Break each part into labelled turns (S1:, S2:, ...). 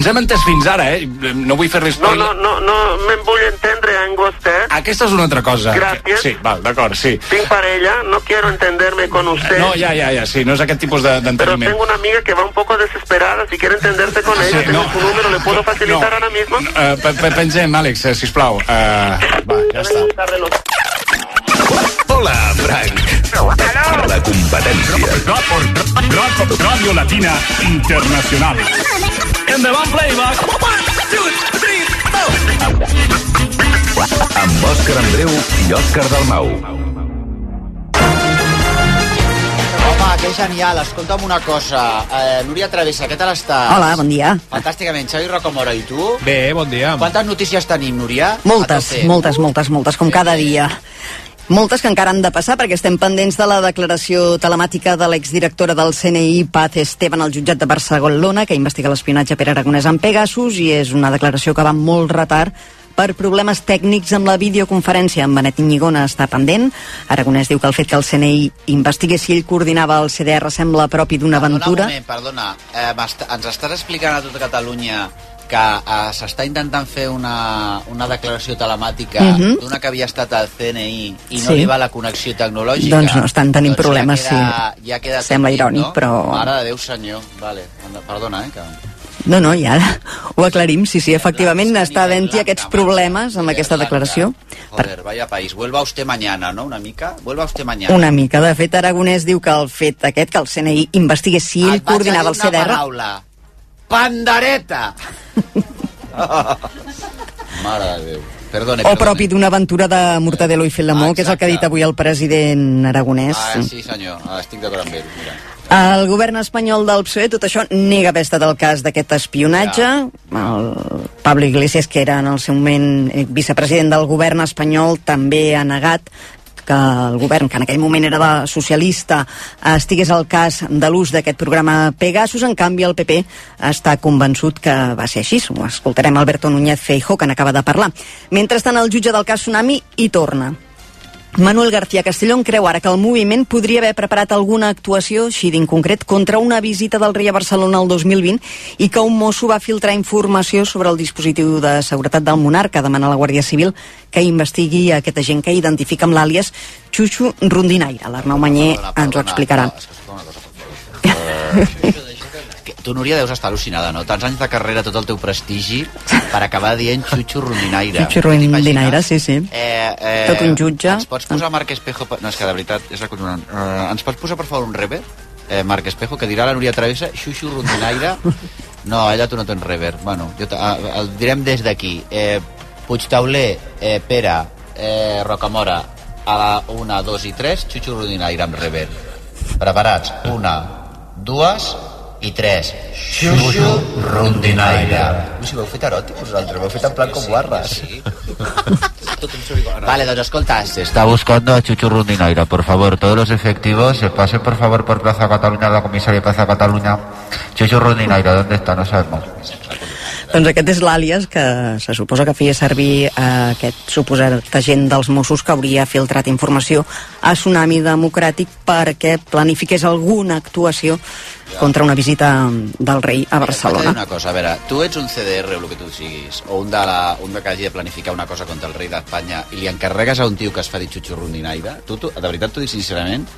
S1: Ens hem entès fins ara, eh? No vull fer-li
S2: No,
S1: spoiler.
S2: no, no, no me'n vull entendre amb vostè.
S1: Aquesta és una altra cosa.
S2: Gràcies.
S1: Sí, val, d'acord, sí.
S2: Tinc parella, no quiero entenderme con usted.
S1: Eh, No, ja, ja, ja, sí, no és aquest tipus de-
S2: Pero
S1: d'enteniment.
S2: tengo una amiga que va un poco desesperada, si quiere entenderse con ella,
S1: Sí,
S2: tengo
S1: no.
S2: su número, ¿le puedo facilitar
S1: No.
S2: ahora mismo?
S1: Eh, pe- pe- Pengem, Àlex, eh, sisplau. Uh, va, ja està.
S3: Hola, Frank. La competència.
S4: Rock, Ràdio Latina Internacional. Endavant, playback!
S3: Amb Òscar Andreu i Òscar Dalmau.
S5: Home, que genial. Escolta'm una cosa. Eh, Núria Travessa, què tal estàs?
S6: Hola, bon dia.
S5: Fantàsticament. Xavi Rocamora, i tu?
S7: Bé, bon dia.
S5: Quantes notícies tenim, Núria?
S6: Moltes,
S5: A tope.
S6: moltes, moltes, moltes, com cada dia. Moltes que encara han de passar perquè estem pendents de la declaració telemàtica de l'exdirectora del CNI, Paz Esteban, al jutjat de Barcelona, que investiga l'espionatge per Aragonès amb Pegasus, i és una declaració que va amb molt retard per problemes tècnics amb la videoconferència. En Benet Iñigona està pendent. Aragonès diu que el fet que el CNI investigui si ell coordinava el CDR sembla propi d'una aventura.
S5: Perdona un moment, perdona. Eh, m'est- ens estàs explicant a tota Catalunya que eh, s'està intentant fer una, una declaració telemàtica
S6: Mhm.
S5: d'una que havia estat al CNI i no
S6: Sí.
S5: li va la connexió tecnològica.
S6: Doncs no, estan tenint
S5: Doncs
S6: problemes,
S5: ja queda,
S6: sí.
S5: Ja queda tot
S6: Sembla
S5: dit,
S6: irònic,
S5: no?
S6: però-
S5: Mare de Déu, senyor. Vale. anda, Perdona, eh, que...
S6: No, no, ja ho aclarim. Sí, sí, efectivament, està havent-hi aquests problemes amb aquesta declaració.
S5: Joder, vaya país. Vuelva usted mañana, no?, una mica? Vuelva usted mañana.
S6: Una mica. De fet, Aragonès diu que el fet aquest, que el CNI investigui si ell
S5: Et vaig a
S6: coordinava el
S5: dir una
S6: CDR...
S5: Paraula. Pandereta! Mare de Déu. Perdone,
S6: O
S5: perdone.
S6: propi d'una aventura de Mortadelo i Filemó, que és el que ha dit avui el president aragonès.
S5: Ah, sí, senyor, ah, estic d'acord amb ell, mira.
S6: El govern espanyol del PSOE, E, tot això, nega haver estat el cas d'aquest espionatge. El Pablo Iglesias, que era en el seu moment eh, vicepresident del govern espanyol, també ha negat que el govern, que en aquell moment era de socialista, estigués al cas de l'ús d'aquest programa Pegasus. En canvi, el PP està convençut que va ser així. Ho escoltarem Alberto Núñez Feijóo, que n'acaba de parlar. Mentrestant, el jutge del cas Tsunami hi torna. Manuel García Castellón creu ara que el moviment podria haver preparat alguna actuació, així d'inconcret, contra una visita del rei a Barcelona el 2020 i que un mosso va filtrar informació sobre el dispositiu de seguretat del monarca, demana la Guàrdia Civil que investigui aquest agent que identifica amb l'àlies Xuxu Rondinaire. L'Arnau Manyer ens ho explicarà.
S5: Que Tu, Núria, deus estar al·lucinada, no? Tants anys de carrera, tot el teu prestigi, per acabar dient xutxo rondinaire.
S6: Xuxu Rondinaire, sí, sí.
S5: Eh, eh,
S6: Tot un jutge.
S5: Ens pots posar Marc Espejo... per- No, és que de veritat, és acollonant. Uh, ens pots posar, per favor, un rever? Eh, Marc Espejo, que dirà la Núria Travessa, xuxu rondinaire... No, ella tu no tens rever. Bueno, jo te- ah, el direm des d'aquí. Eh, Puigtauler, eh, Pere, eh, Rocamora, a la 1, 2 i 3, xuxu rondinaire amb rever. Preparats? 1, 2 i 3. Xuxu rondinaire. No sé, vau fer tarot, vosaltres? Vau fer tan plan com guarres. Vale, doncs escolta, se
S8: Está buscando a Chuchu Rundinaira, por favor. Todos los efectivos se pasen, por favor, por Plaza Cataluña, la comisaría de Plaza Cataluña. Chuchu Rundinaira, ¿dónde está? No sabemos.
S6: Doncs aquest és l'àlies que se suposa que feia servir eh, aquest suposat agent dels Mossos que hauria filtrat informació a Tsunami Democràtic perquè planifiqués alguna actuació contra una visita del rei a
S5: T'haig de dir
S6: Barcelona.
S5: Una cosa, a veure, tu ets un CDR o el que tu siguis, o un de, la, un de que hagi de planificar una cosa contra el rei d'Espanya i li encarregues a un tio que es fa dir xutxurrondinaire, tu, tu, de veritat t'ho dic sincerament,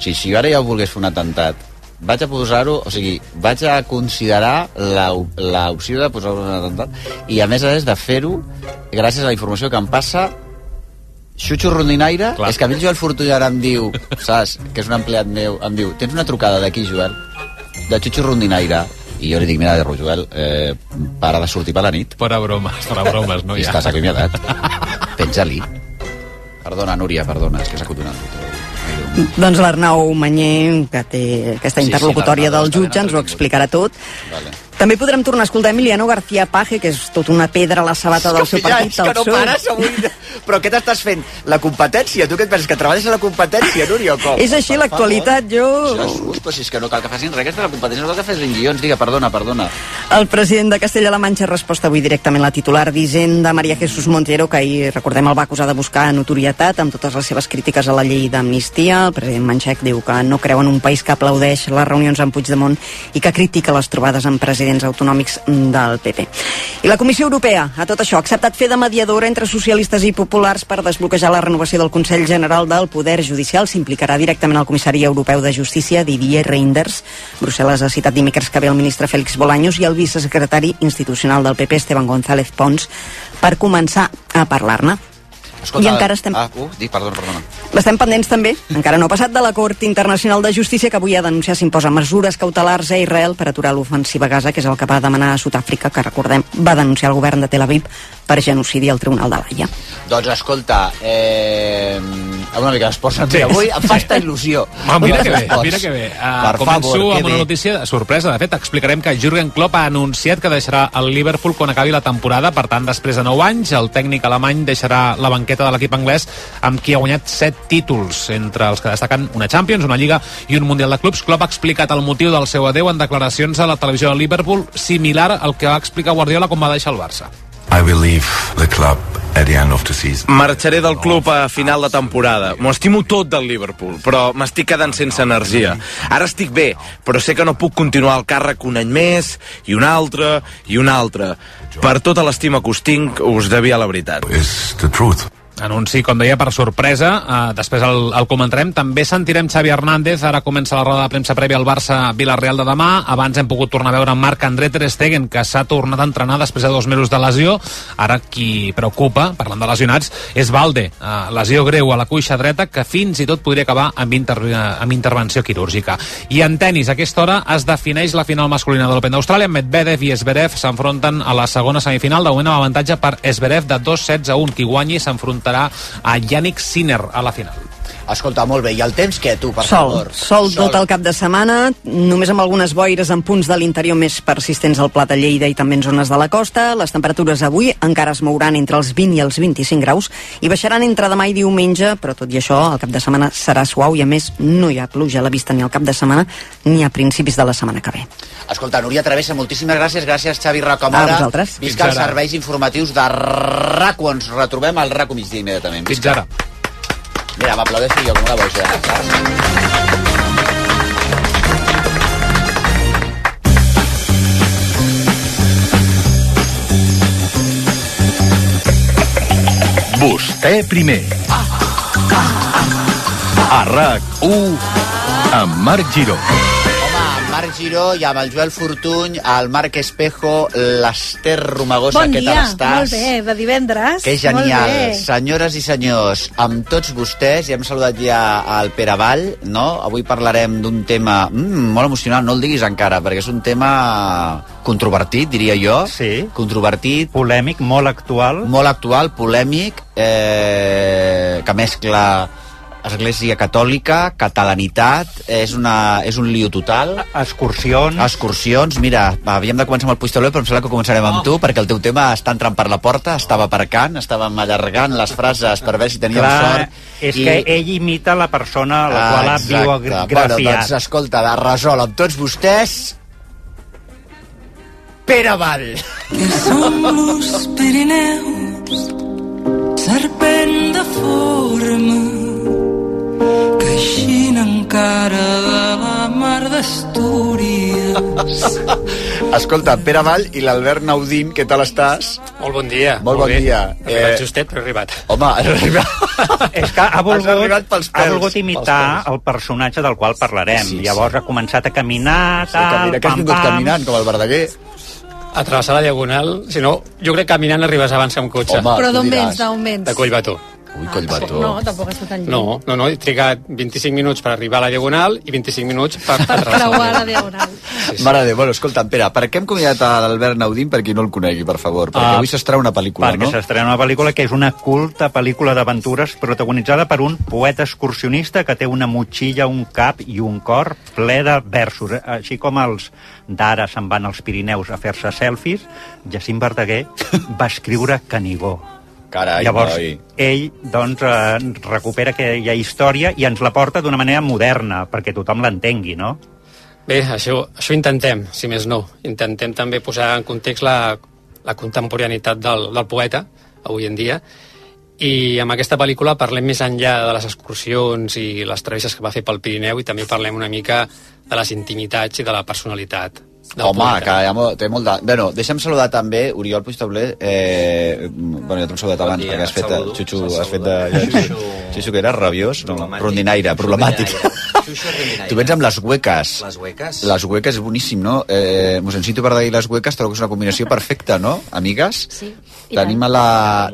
S5: si, si jo ara ja volgués fer un atemptat, vaig a posar-ho, o sigui, vaig a considerar la op- l'opció de posar-ho en un atemptat i a més a més de fer-ho gràcies a la informació que em passa Xuxo Rondinaire, Clar. és que a mi el Joel Fortuny ara em diu, saps, que és un empleat meu, em diu, tens una trucada d'aquí, Joel, de Xuxo Rondinaire, i jo li dic, mira, Joel, eh, para de sortir per la nit,
S7: Para bromes, para bromes, no?
S5: i
S7: Ja.
S5: estàs acomiadat. Penja-li. Perdona, Núria, perdona, és que s'ha acotonat.
S6: Doncs l'Arnau Manyer, que té aquesta
S5: Sí, sí,
S6: interlocutòria
S5: l'Arnau
S6: del
S5: està ben
S6: jutge, ens ho
S5: entretingut.
S6: explicarà tot.
S5: Vale.
S6: També podrem tornar a escoltar Emiliano García Paje, que és tot una pedra a la sabata del seu partit, el PSOE.
S5: avui. Però què t'estàs fent? La competència? Tu què et penses, que treballes a la competència, Núria, o com?
S6: És així
S5: Per
S6: l'actualitat,
S5: favor.
S6: jo...
S5: Jesús, però si és que no cal que facin res, que és de la competència, no cal que facin guions, diga, perdona, perdona.
S6: El president de Castella-La Manxa resposta avui directament la titular d'Hisenda, Maria Jesús Montero, que ahir, recordem, el va acusar de buscar notorietat amb totes les seves crítiques a la llei d'amnistia. El president Manxec diu que no creu en un país que aplaudeix les reunions amb Puigdemont i que critica les trobades amb presidents autonòmics del PP. I la Comissió Europea, a tot això, ha acceptat fer de mediadora entre socialistes i populars per desbloquejar la renovació del Consell General del Poder Judicial. S'implicarà directament el comissari europeu de Justícia, Didier Reinders. Brussel·les ha citat dimecres que ve el ministre Félix Bolaños i el vicesecretari institucional del PP, Esteban González Pons, per començar a parlar-ne. I encara estem...
S5: Ah, uh, dic, perdona, perdona.
S6: Estem pendents també, encara no ha passat, de la Cort Internacional de Justícia que avui ha denunciat s'imposa mesures cautelars a Israel per aturar l'ofensiva a Gaza, que és el que va demanar a Sud-àfrica, que recordem va denunciar el govern de Tel Aviv per genocidi al Tribunal de l'Aia.
S5: Doncs escolta, eh, amb una mica d'esports sí. Ah, avui em fa esta il·lusió.
S7: Ma, mira,
S5: Amb
S7: que
S5: els
S7: bé,
S5: esports.
S7: mira que bé.
S5: Per
S7: Uh, començo
S5: favor, que
S7: amb una
S5: bé.
S7: notícia de sorpresa. De fet, explicarem que Jürgen Klopp ha anunciat que deixarà el Liverpool quan acabi la temporada. Per tant, després de 9 anys, el tècnic alemany deixarà la banqueta de l'equip anglès amb qui ha guanyat 7 títols, entre els que destaquen una Champions, una Lliga i un Mundial de Clubs. Klopp ha explicat el motiu del seu adeu en declaracions a la televisió de Liverpool, similar al que va explicar Guardiola quan va deixar el Barça.
S9: I will leave the club at the end of the season.
S10: Marxaré del club a final de temporada. M'ho estimo tot del Liverpool, però m'estic quedant sense energia. Ara estic bé, però sé que no puc continuar el càrrec un any més, i un altre, i un altre. Per tota l'estima que us tinc, us devia la veritat.
S9: Is the truth.
S7: Anunci, com deia, per sorpresa. Uh, després el, el comentarem. També sentirem Xavi Hernández. Ara comença la roda de premsa prèvia al Barça-Vilareal de demà. Abans hem pogut tornar a veure en Marc-André Ter Stegen, que s'ha tornat a entrenar després de dos mesos de lesió. Ara qui preocupa, parlant de lesionats, és Valde. Uh, lesió greu a la cuixa dreta que fins i tot podria acabar amb, inter amb intervenció quirúrgica. I en tennis, a aquesta hora es defineix la final masculina de l'Open d'Austràlia. Medvedev i Esberev s'enfronten a la segona semifinal. De moment amb avantatge per Esberev de 2 sets a 1. Qui guanyi s'enfrontarà a Yannick Sinner a la final.
S5: Escolta, molt bé, i el temps què, tu, per
S6: Sol,
S5: favor?
S6: sol tot el cap de setmana, només amb algunes boires en punts de l'interior més persistents al Pla de Lleida i també en zones de la costa. Les temperatures avui encara es mouran entre els 20 i els 25 graus i baixaran entre demà i diumenge, però tot i això el cap de setmana serà suau i a més no hi ha pluja a la vista ni al cap de setmana ni a principis de la setmana que ve.
S5: Escolta, Núria Travessa, moltíssimes gràcies. Gràcies, Xavi Rocamora.
S6: A vosaltres.
S5: Visca
S7: Fins
S5: els
S7: ara.
S5: serveis informatius de RACO. Ens retrobem al RACO migdia immediatament.
S7: Fins ara.
S5: Mira, m'aplaudeixo jo com una boja.
S3: Vostè primer. A RAC1 amb Marc Giró.
S5: Home, amb Marc Giró i amb el Joel Fortuny, el Marc Espejo, l'Ester Romagosa,
S11: Bon
S5: què
S11: dia,
S5: tal estàs?
S11: molt bé, de divendres.
S5: Que genial.
S11: Molt bé.
S5: Senyores i senyors, amb tots vostès, ja hem saludat ja al Pere Vall, no? Avui parlarem d'un tema mm, molt emocional, no el diguis encara, perquè és un tema controvertit, diria jo.
S12: Sí.
S5: Controvertit,
S12: polèmic, molt actual.
S5: molt actual, polèmic, eh, que mescla Església Catòlica, catalanitat, és, una, és un lío total.
S12: Excursions.
S5: Excursions, mira, havíem de començar amb el Puigtoló, però em sembla que començarem
S11: Oh.
S5: amb tu, perquè el teu tema està entrant per la porta, estava aparcant, estàvem allargant les frases per veure si teníem
S12: Clar,
S5: sort.
S12: és que ell imita la persona a la
S5: Ah,
S12: qual ha
S5: exacte.
S12: biografiat.
S5: Bueno, doncs escolta, de resol amb tots vostès... Pere Vall.
S11: Que som los Pirineus, serpent de forma, que eixint encara de la mar d'Astúries.
S5: Escolta, Pere Vall i l'Albert Naudín, què tal estàs?
S10: Molt bon dia.
S5: Molt bon dia. Eh,
S10: justet, però he arribat.
S5: home, has arribat...
S12: És que ha
S5: Has arribat
S12: volgut,
S5: pels
S12: ha
S5: pèls,
S12: volgut
S5: pels
S12: imitar
S5: pèls.
S12: el personatge del qual parlarem.
S5: Sí,
S12: Sí,
S5: sí.
S12: Llavors ha començat a caminar,
S5: Sí,
S12: tal,
S5: camina, que has
S12: pam,
S5: vingut
S12: pam.
S5: caminant, com el Verdaguer.
S10: A travessar la diagonal, si no, jo crec que caminant arribes abans que amb cotxe.
S5: Home,
S11: Però
S5: tu
S11: d'on
S5: diràs.
S11: vens, d'on vens?
S10: De Collbató.
S5: Ui, collbató.
S11: No, tampoc has estat tan lluny.
S10: No, no, no, he trigat 25 minuts per arribar a la Diagonal i 25 minuts per,
S11: Per creuar la
S10: Diagonal.
S11: diagonal.
S5: Mare de Déu, bueno, escolta, Pere, per què hem convidat a l'Albert Naudín per qui no el conegui, per favor? Perquè
S12: Ah,
S5: avui s'estrà una pel·lícula,
S12: Perquè
S5: no?
S12: s'estrena una pel·lícula que és una culta pel·lícula d'aventures protagonitzada per un poeta excursionista que té una motxilla, un cap i un cor ple de versos. Eh, Així com els d'ara se'n van als Pirineus a fer-se selfies, Jacint Verdaguer va escriure Canigó.
S5: Carai,
S12: Llavors,
S5: noi.
S12: ell doncs, eh, recupera aquella història i ens la porta d'una manera moderna, perquè tothom l'entengui, no?
S13: Bé, això, això intentem, si més no. Intentem també posar en context la, la contemporaneïtat del, del poeta, avui en dia, i amb aquesta pel·lícula parlem més enllà de les excursions i les travesses que va fer pel Pirineu i també parlem una mica de les intimitats i de la personalitat. del
S5: Home,
S13: poeta.
S5: que hi ha molt, té molt de... Bueno, deixa'm saludar també Oriol Puigtabler. Eh, bueno, ja t'hem saludat abans, perquè has fet, de, xutxu, has fet de... Xuxu, xuxu que era rabiós, no, rondinaire, problemàtic. Tu vens amb les hueques.
S14: Les hueques?
S5: Les hueques és boníssim, no? Eh, Mosencito Verdaguer i les hueques trobo que és una combinació perfecta, no, amigues?
S15: Sí. i
S5: Tenim a la,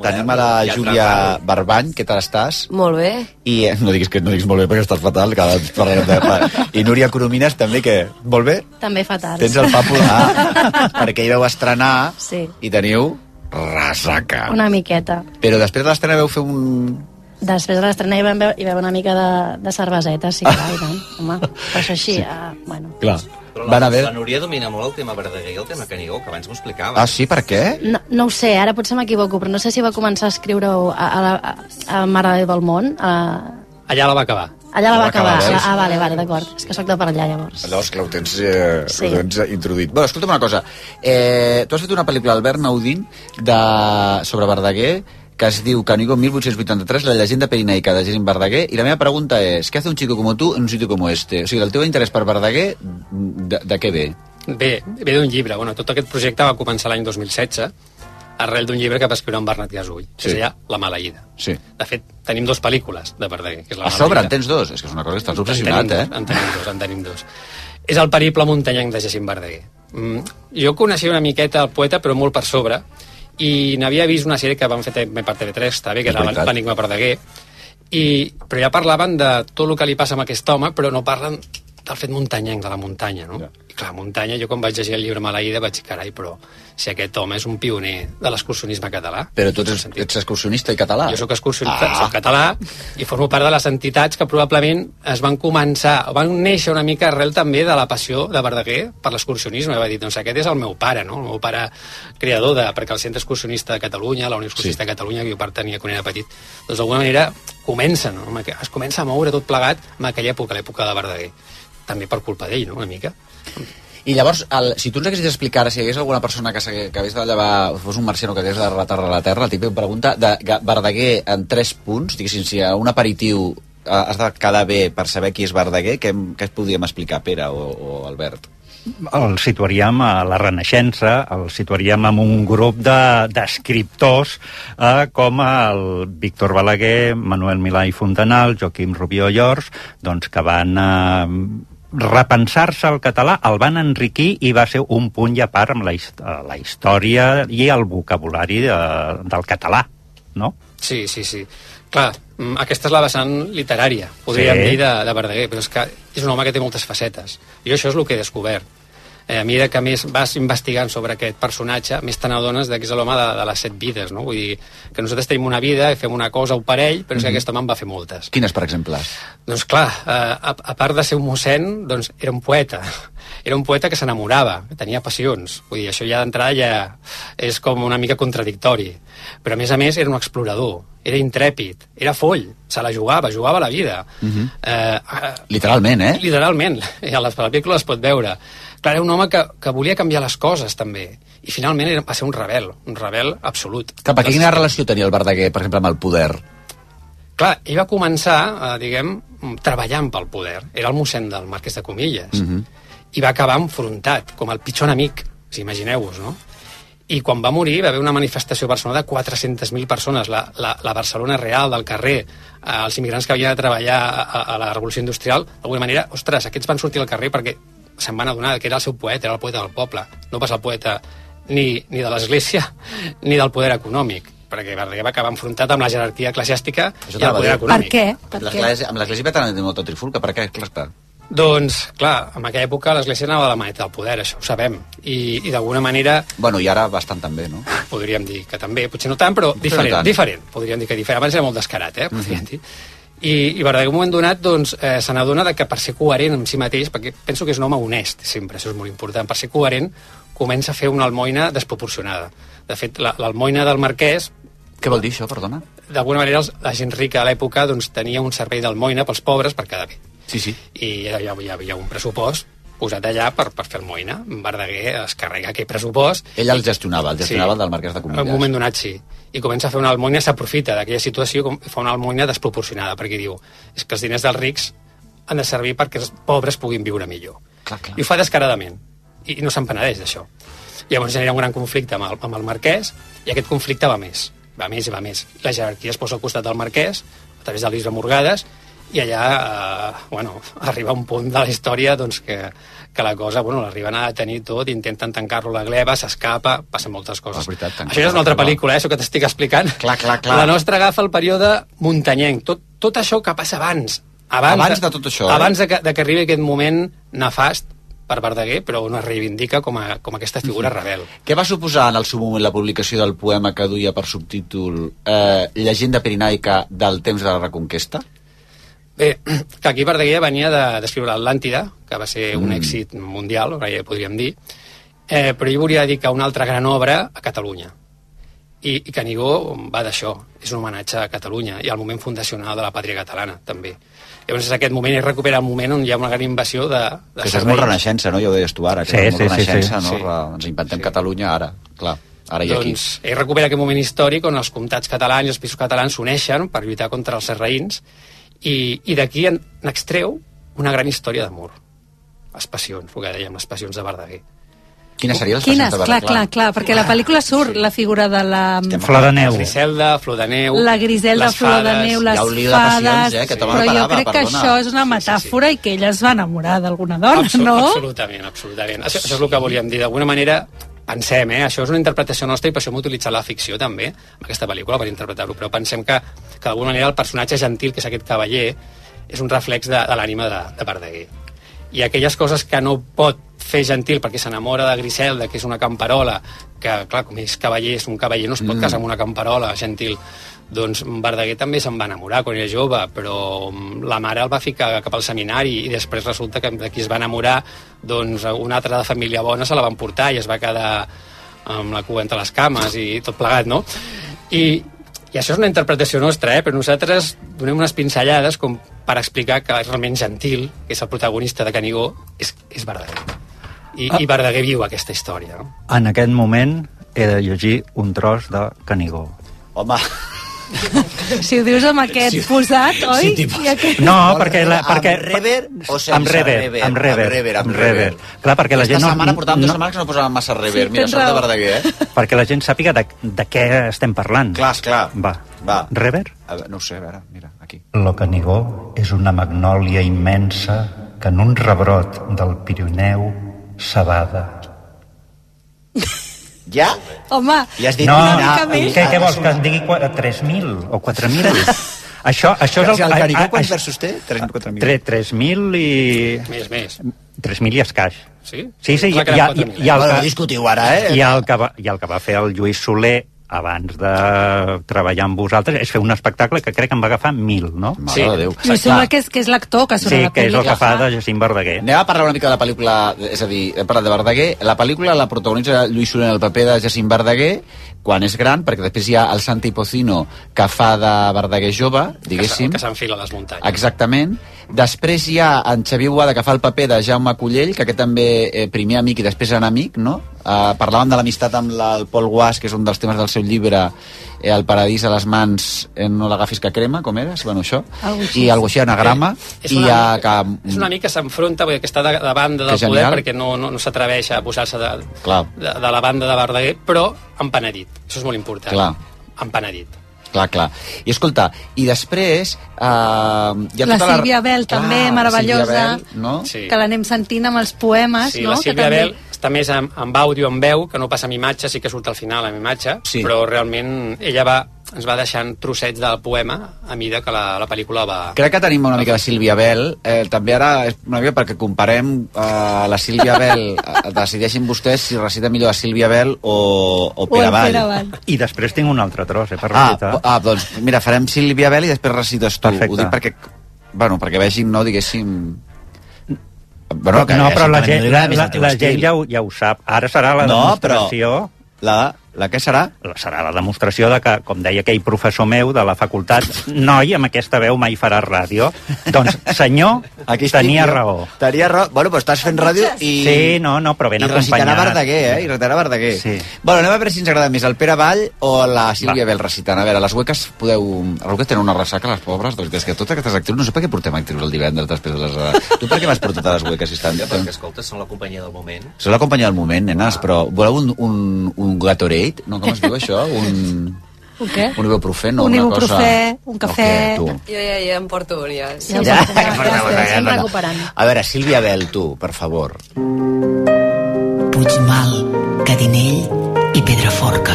S5: tenim a la Júlia Barbany, què tal estàs?
S15: Molt bé.
S5: I eh, no diguis que no diguis molt bé perquè estàs fatal, cada vegada parlarem de... I Núria Coromines també, que molt bé?
S16: També fatal.
S5: Tens el papo ah, perquè hi vau estrenar
S16: Sí,
S5: i teniu ressaca.
S16: una miqueta.
S5: Però després de l'estrena vau fer un...
S16: Després de l'estrena hi vam veure, hi va haver una mica de, de cerveseta, sí, clar, i tant, home. Però això així, sí. ah, bueno.
S5: Clar.
S14: Però
S5: Van
S14: la,
S5: haver-
S14: la Núria domina molt el tema Verdaguer i el tema Canigó, que abans m'ho explicava.
S5: Ah, sí? Per què?
S16: No, no ho sé, ara potser m'equivoco, però no sé si va començar a escriure-ho a, a, la- a, a Mare de Déu del Món. A,
S13: Allà la va acabar.
S16: allà la va
S5: Va acabar,
S16: acabar.
S5: veus?
S16: Ah, vale, vale, d'acord. És que sóc de per allà, llavors.
S5: Llavors, clar, ho tens, eh,
S16: Sí.
S5: ho tens introduït. Bé, escolta'm una cosa. Eh, tu has fet una pel·lícula, Albert Naudín, de... sobre Verdaguer, que es diu Canigo 1883, la llegenda perinaica de Jacint Verdaguer, i la meva pregunta és, què hace un chico como tú en un sitio como este? O sigui, el teu interès per Verdaguer, de, de què ve?
S13: Bé, ve d'un llibre. Bueno, tot aquest projecte va començar l'any 2016 arrel d'un llibre que va escriure en Bernat Gasull, que
S5: Sí.
S13: es deia La maleïda.
S5: Sí.
S13: De fet, tenim dos pel·lícules de Verdaguer, que és La
S5: A sobre, en
S13: maleïda.
S5: tens dos. És que és una cosa que estàs obsessionat,
S13: en
S5: eh?
S13: tenim, dos, En tenim dos, en tenim dos. És el periple muntanyenc de Jacint Verdaguer. Mm, jo coneixia una miqueta el poeta, però molt per sobre, i n'havia vist una sèrie que van fer també per TV3, també, que
S5: És
S13: era
S5: veritat.
S13: l'Enigma Verdaguer, i, però ja parlaven de tot el que li passa a aquest home, però no parlen del fet muntanyenc, de la muntanya, no? I clar, muntanya, jo quan vaig llegir el llibre Malaïda vaig dir, carai, però si aquest home és un pioner de l'excursionisme català,
S5: Però tu ets, ets excursionista i català.
S13: jo sóc excursionista, ah. soc català i formo part de les entitats que probablement es van començar, o van néixer una mica arrel també de la passió de Verdaguer per l'excursionisme. Va dir, doncs aquest és el meu pare, no? El meu pare creador de... Perquè el Centre Excursionista de Catalunya, la Unió Excursionista sí. de Catalunya, que jo pertanyia quan era petit, doncs d'alguna manera comença, no? Amb aqu- Es comença a moure tot plegat en aquella època, l'època de Verdaguer. També per culpa d'ell, no?, una mica.
S5: I llavors, el, si tu ens haguessis d'explicar, si hi hagués alguna persona que s'hagués- que hagués de llevar, fos un marciano que hagués de retarrar la Terra, la típica pregunta de Ga- Verdaguer en tres punts, diguéssim, si a un aperitiu eh, has de quedar bé per saber qui és Verdaguer, què, em- què es podíem explicar, Pere o, o Albert?
S12: el situaríem a la Renaixença, el situaríem amb un grup de- d'escriptors de, eh, com el Víctor Balaguer, Manuel Milà i Fontanal, Joaquim Rubió i Ors, doncs que van eh, repensar-se el català, el van enriquir i va ser un punt i a part amb la, his- eh, la història i el vocabulari de, del català, no?
S13: Sí, sí, sí. Clar, mm, aquesta és la vessant literària, podríem
S12: Sí.
S13: sí. dir, de, de Verdaguer, però és que és un home que té moltes facetes. Jo això és el que he descobert. Eh, a mesura que més vas investigant sobre aquest personatge, més te n'adones de que és l'home de, de les set vides, no? Vull dir, que nosaltres tenim una vida, i fem una cosa, un parell, però és que
S5: Mhm.
S13: aquest home en va fer moltes.
S5: Quines, per exemple?
S13: Doncs clar, eh, a, a part de ser un mossèn, doncs era un poeta. Era un poeta que s'enamorava, que tenia passions. Vull dir, això ja d'entrada ja és com una mica contradictori. Però a més a més era un explorador, era intrèpid, era foll, se la jugava, jugava la vida. Uh -huh. Eh, eh,
S5: Mhm. Literalment, eh?
S13: Literalment, i a les pel·lícules es pot veure. Clar, era un home que, que volia canviar les coses, també. I finalment era, va ser un rebel, un rebel absolut.
S5: Cap a quina relació tenia el Verdaguer, per exemple, amb el poder?
S13: Clar, ell va començar, eh, diguem, treballant pel poder. Era el mossèn del marquès de Comillas.
S5: Mhm.
S13: i va acabar enfrontat, com el pitjor enemic, si imagineu-vos, no? I quan va morir va haver una manifestació a Barcelona de 400.000 persones, la, la, la Barcelona real del carrer, eh, els immigrants que havien de treballar a, a- a la Revolució Industrial, d'alguna manera, ostres, aquests van sortir al carrer perquè se'n van adonar que era el seu poeta, era el poeta del poble, no pas el poeta ni, ni de l'Església ni del poder econòmic, perquè Verdaguer va acabar enfrontat amb la jerarquia eclesiàstica i el
S5: t'anava a
S13: poder
S5: dir.
S13: econòmic.
S5: Amb l'església- Amb l'església catalana de Moto Trifulca, per què? Clar, està.
S13: Doncs, clar, en aquella època l'Església anava de la maneta del poder, això ho sabem. I, i d'alguna manera...
S5: Bueno, i ara bastant també, no?
S13: Podríem dir que també, potser no tant, però
S5: Potser no
S13: diferent,
S5: tant. Mhm.
S13: diferent. Podríem dir que diferent. Abans era molt descarat, eh? Podríem dir. I, i Verdaguer, en un moment donat, doncs, eh, se n'adona de que per ser coherent amb si mateix, perquè penso que és un home honest, sempre, això és molt important, per ser coherent comença a fer una almoina desproporcionada. De fet, la- l'almoina del marquès
S5: Què vol dir això, perdona?
S13: d'alguna manera els- la gent rica a l'època doncs, tenia un servei d'almoina pels pobres per quedar bé.
S5: Sí, sí.
S13: I ja, ja, hi havia un pressupost posat allà per, per fer almoina. Verdaguer es carrega aquell pressupost
S5: Ell el gestionava, el gestionava
S13: Sí.
S5: del Marquès de
S13: en un
S5: Comillas.
S13: moment donat sí. I comença a fer una almoina, s'aprofita d'aquella situació, com- fa una almoina desproporcionada, perquè diu és que els diners dels rics han de servir perquè els pobres puguin viure millor.
S5: Clar, clar.
S13: I ho fa descaradament. I, i no se'n penedeix d'això. Llavors genera un gran conflicte amb el, amb el marquès i aquest conflicte va més, va més i va més. La jerarquia es posa al costat del marquès a través de l'Isra Morgades i allà, eh, bueno, arriba un punt de la història doncs, que, que la cosa, bueno, l'arriben a detenir tot, intenten tancar-lo a la gleba, s'escapa, passen moltes coses. veritat, Això ja és una altra pel·lícula, eh, això que t'estic explicant.
S5: Clar, clar, clar.
S13: La nostra agafa el període muntanyenc, tot, tot això que passa abans.
S5: Abans de tot això, eh?
S13: Abans de que, de que arribi aquest moment nefast per Verdaguer, però on es reivindica com a, com a aquesta figura
S5: Mhm.
S13: rebel.
S5: Què va suposar en el seu moment la publicació del poema que duia per subtítol eh, Llegenda pirinaica del temps de la Reconquesta?
S13: Bé, que aquí Verdaguer venia de- d'escriure de, l'Atlàntida, que va ser un
S5: Mm.
S13: èxit mundial, ja podríem dir, eh, però ell volia dedicar una altra gran obra a Catalunya. I, i Canigó va d'això, és un homenatge a Catalunya i al moment fundacional de la pàtria catalana, també. Llavors, és aquest moment, ell recupera el moment on hi ha una gran invasió de, de
S5: Que això és molt renaixença, no? Ja ho deies tu ara, que
S13: Sí,
S5: és molt
S13: sí, sí,
S5: renaixença,
S13: sí.
S5: no?
S13: Sí.
S5: Re- Ens inventem Catalunya ara, clar, ara i aquí.
S13: doncs, ell recupera aquest moment històric on els comtats catalans i els països catalans s'uneixen per lluitar contra els serraïns i, i d'aquí en, n'extreu una gran història d'amor. Les passions, el que dèiem, les passions de Verdaguer.
S5: Quines serien
S15: Quines? Clar, clar, clar, perquè la pel·lícula surt la figura de la...
S13: La Griselda, Flor de Neu...
S15: La Griselda,
S13: les
S15: Flor de
S13: fades.
S15: Neu, les
S5: eh,
S15: fades...
S13: eh,
S15: però jo crec que això és una metàfora i que ella es va enamorar d'alguna dona,
S13: Absolut-
S15: no?
S13: Absolutament, absolutament. Això, això és el que volíem dir. D'alguna manera, pensem, eh? això és una interpretació nostra i per això hem utilitzat la ficció també, en aquesta pel·lícula, per interpretar-ho, però pensem que, que d'alguna manera el personatge gentil, que és aquest cavaller, és un reflex de, de l'ànima de, de Verdaguer. I aquelles coses que no pot fer gentil perquè s'enamora de Griselda, que és una camperola, que, clar, com és cavaller, és un cavaller, no es pot
S17: Mm.
S13: casar amb una camperola gentil. Doncs Verdaguer també se'n va enamorar quan era jove, però mm, la mare el va ficar cap al seminari i després resulta que de qui es va enamorar doncs una altra de família bona se la van portar i es va quedar amb la cua entre les cames i tot plegat, no? I, i això és una interpretació nostra, eh? però nosaltres donem unes pinzellades com per explicar que realment Gentil, que és el protagonista de Canigó, és, és Verdaguer. I,
S5: Ah.
S13: I Verdaguer viu aquesta història. No?
S12: En aquest moment he de llegir un tros de Canigó.
S5: Home,
S15: Si ho dius amb aquest posat, oi? I aquest...
S12: No, perquè... La, perquè
S5: Amb rever o sense
S12: amb rever,
S5: rever?
S12: amb rever,
S5: Amb rever, amb
S12: amb rever.
S5: rever.
S12: Clar, perquè la
S5: Aquesta
S12: gent no...
S5: setmana portàvem dues
S12: no-
S5: setmanes que no posàvem massa rever.
S12: Sí,
S5: Mira,
S12: tens
S5: sort de
S12: raó.
S5: Verdaguer, eh?
S12: perquè la gent sàpiga de, de què estem parlant.
S5: Clar, esclar.
S12: Va.
S5: Va.
S12: Rever?
S5: A veure, no ho sé, a veure, mira, aquí.
S12: Lo Canigó és una magnòlia immensa que en un rebrot del Pirineu s'abada.
S5: Ja?
S15: Home,
S5: Ja has dit
S12: no,
S5: una mica més. Ah,
S12: què, què vols, que en digui qua- 3.000 o 4.000? això, això és el...
S5: Si el Canigó, quants
S12: això-
S5: versos té? 3.000.
S12: 3.000 i...
S13: Més, més.
S12: 3.000 i escaix.
S13: Sí?
S12: Sí, sí, i, i,
S13: Clar que
S12: i,
S13: eren
S12: i, i,
S13: 4.000,
S12: el
S13: eh? Bueno,
S12: que-
S13: discutiu ara, eh?
S12: I el, que va, I el que va fer el Lluís Soler abans de treballar amb vosaltres és fer un espectacle que crec que em va agafar 1.000, no?
S5: Mare Sí. de Déu.
S15: Lluís Solà, que és, que és l'actor que surt
S12: Sí,
S15: a la
S12: que és el
S15: pel·lícula.
S12: que fa de Jacint Verdaguer.
S5: Anem a parlar una mica de la pel·lícula, és a dir, hem parlat de Verdaguer. La pel·lícula la protagonitza Lluís Soler en el paper de Jacint Verdaguer quan és gran, perquè després hi ha el Santi Pocino que fa de Verdaguer jove, diguéssim.
S13: Que s'enfila a les muntanyes.
S5: Exactament. Després hi ha en Xavier Boada, que fa el paper de Jaume Cullell, que aquest també eh, primer amic i després enemic, no? Eh, parlàvem de l'amistat amb la, el Pol Guas, que és un dels temes del seu llibre, eh, El paradís a les mans, eh, no l'agafis que crema, com era? Sí, Bueno, això.
S13: Algo així.
S5: I algo així, anagrama.
S13: Eh, és
S5: I
S13: una
S5: hi ha que...
S13: És una mica que s'enfronta, vull dir, que està de, de banda
S5: Mm. Que
S13: del poder
S5: genial.
S13: perquè no, no, no s'atreveix a posar-se de,
S5: Clar,
S13: de, de la banda de Verdaguer, però empenedit. Això és molt important.
S5: clar.
S13: Empenedit.
S5: Clar, clar. I escolta, i després... Eh, hi ha
S15: La
S5: tota la...
S15: Sílvia Bell, també,
S5: la
S15: meravellosa.
S5: Sílvia Bell, no?
S13: Sí.
S15: que l'anem sentint amb els poemes,
S13: sí,
S15: no?
S13: la
S15: que
S13: Sílvia
S15: també...
S13: Bell està més amb, amb àudio, amb veu, que no passa amb imatge, sí que surt al final amb imatge,
S5: Sí.
S13: però realment ella va, ens va deixant trossets del poema a mida que la, la pel·lícula va...
S5: Crec que tenim una mica de Sílvia Bell. Eh, també ara és una mica perquè comparem eh, la Sílvia Bell. Eh, Decideixin vostès si recita millor a Sílvia Bell o, o Pere Vall.
S12: I després tinc un altre tros, eh, per
S5: Ah,
S12: recitar.
S5: ah, doncs mira, farem Sílvia Bell i després recites tu. Perfecte. Ho dic perquè, bueno, perquè vegin, no, diguéssim... Bueno, que
S12: no,
S5: vegin
S12: però
S5: que
S12: la
S5: a mi
S12: gent,
S5: m'agrada
S12: la,
S5: més
S12: la,
S5: el teu
S12: la
S5: estil.
S12: gent ja ho, ja ho sap. Ara serà la
S5: No, però
S12: demostració...
S5: La, La què serà?
S12: Serà la demostració de que, com deia aquell professor meu de la facultat, noi, amb aquesta veu mai faràs ràdio. Doncs, senyor, Aquí
S5: estic
S12: tenia
S5: jo.
S12: raó.
S5: Tenia raó. Bueno, però estàs fent ràdio i...
S12: Sí, no, no, però ben
S5: I recitarà
S12: acompanyat.
S5: Verdaguer, eh? I recitarà Verdaguer. Sí. Bueno, anem a veure si ens agrada més el Pere Vall o la Sílvia Bel recitant. A veure, les hueques podeu... Les hueques tenen una ressaca, les pobres, doncs, des que totes aquestes actrius... No sé per què portem actrius el divendres després de les... tu per què m'has portat a les hueques si estan...
S14: Jo, perquè, escolta, són la companyia del moment.
S5: Sou la companyia del moment, nenes, però voleu un, un, un Gatorade? No, com es diu això? Un,
S15: Un què?
S5: un ibuprofen o
S15: Un
S5: una cosa...
S15: ibuprofè, un cafè.
S5: No, què, tu?
S17: Jo ja, ja em porto un, ja. Sí.
S5: Ja, ja, ja, ja, ja, ja. A veure, Sílvia Bel, tu, per favor.
S18: Puigmal, Cadinell i Pedraforca.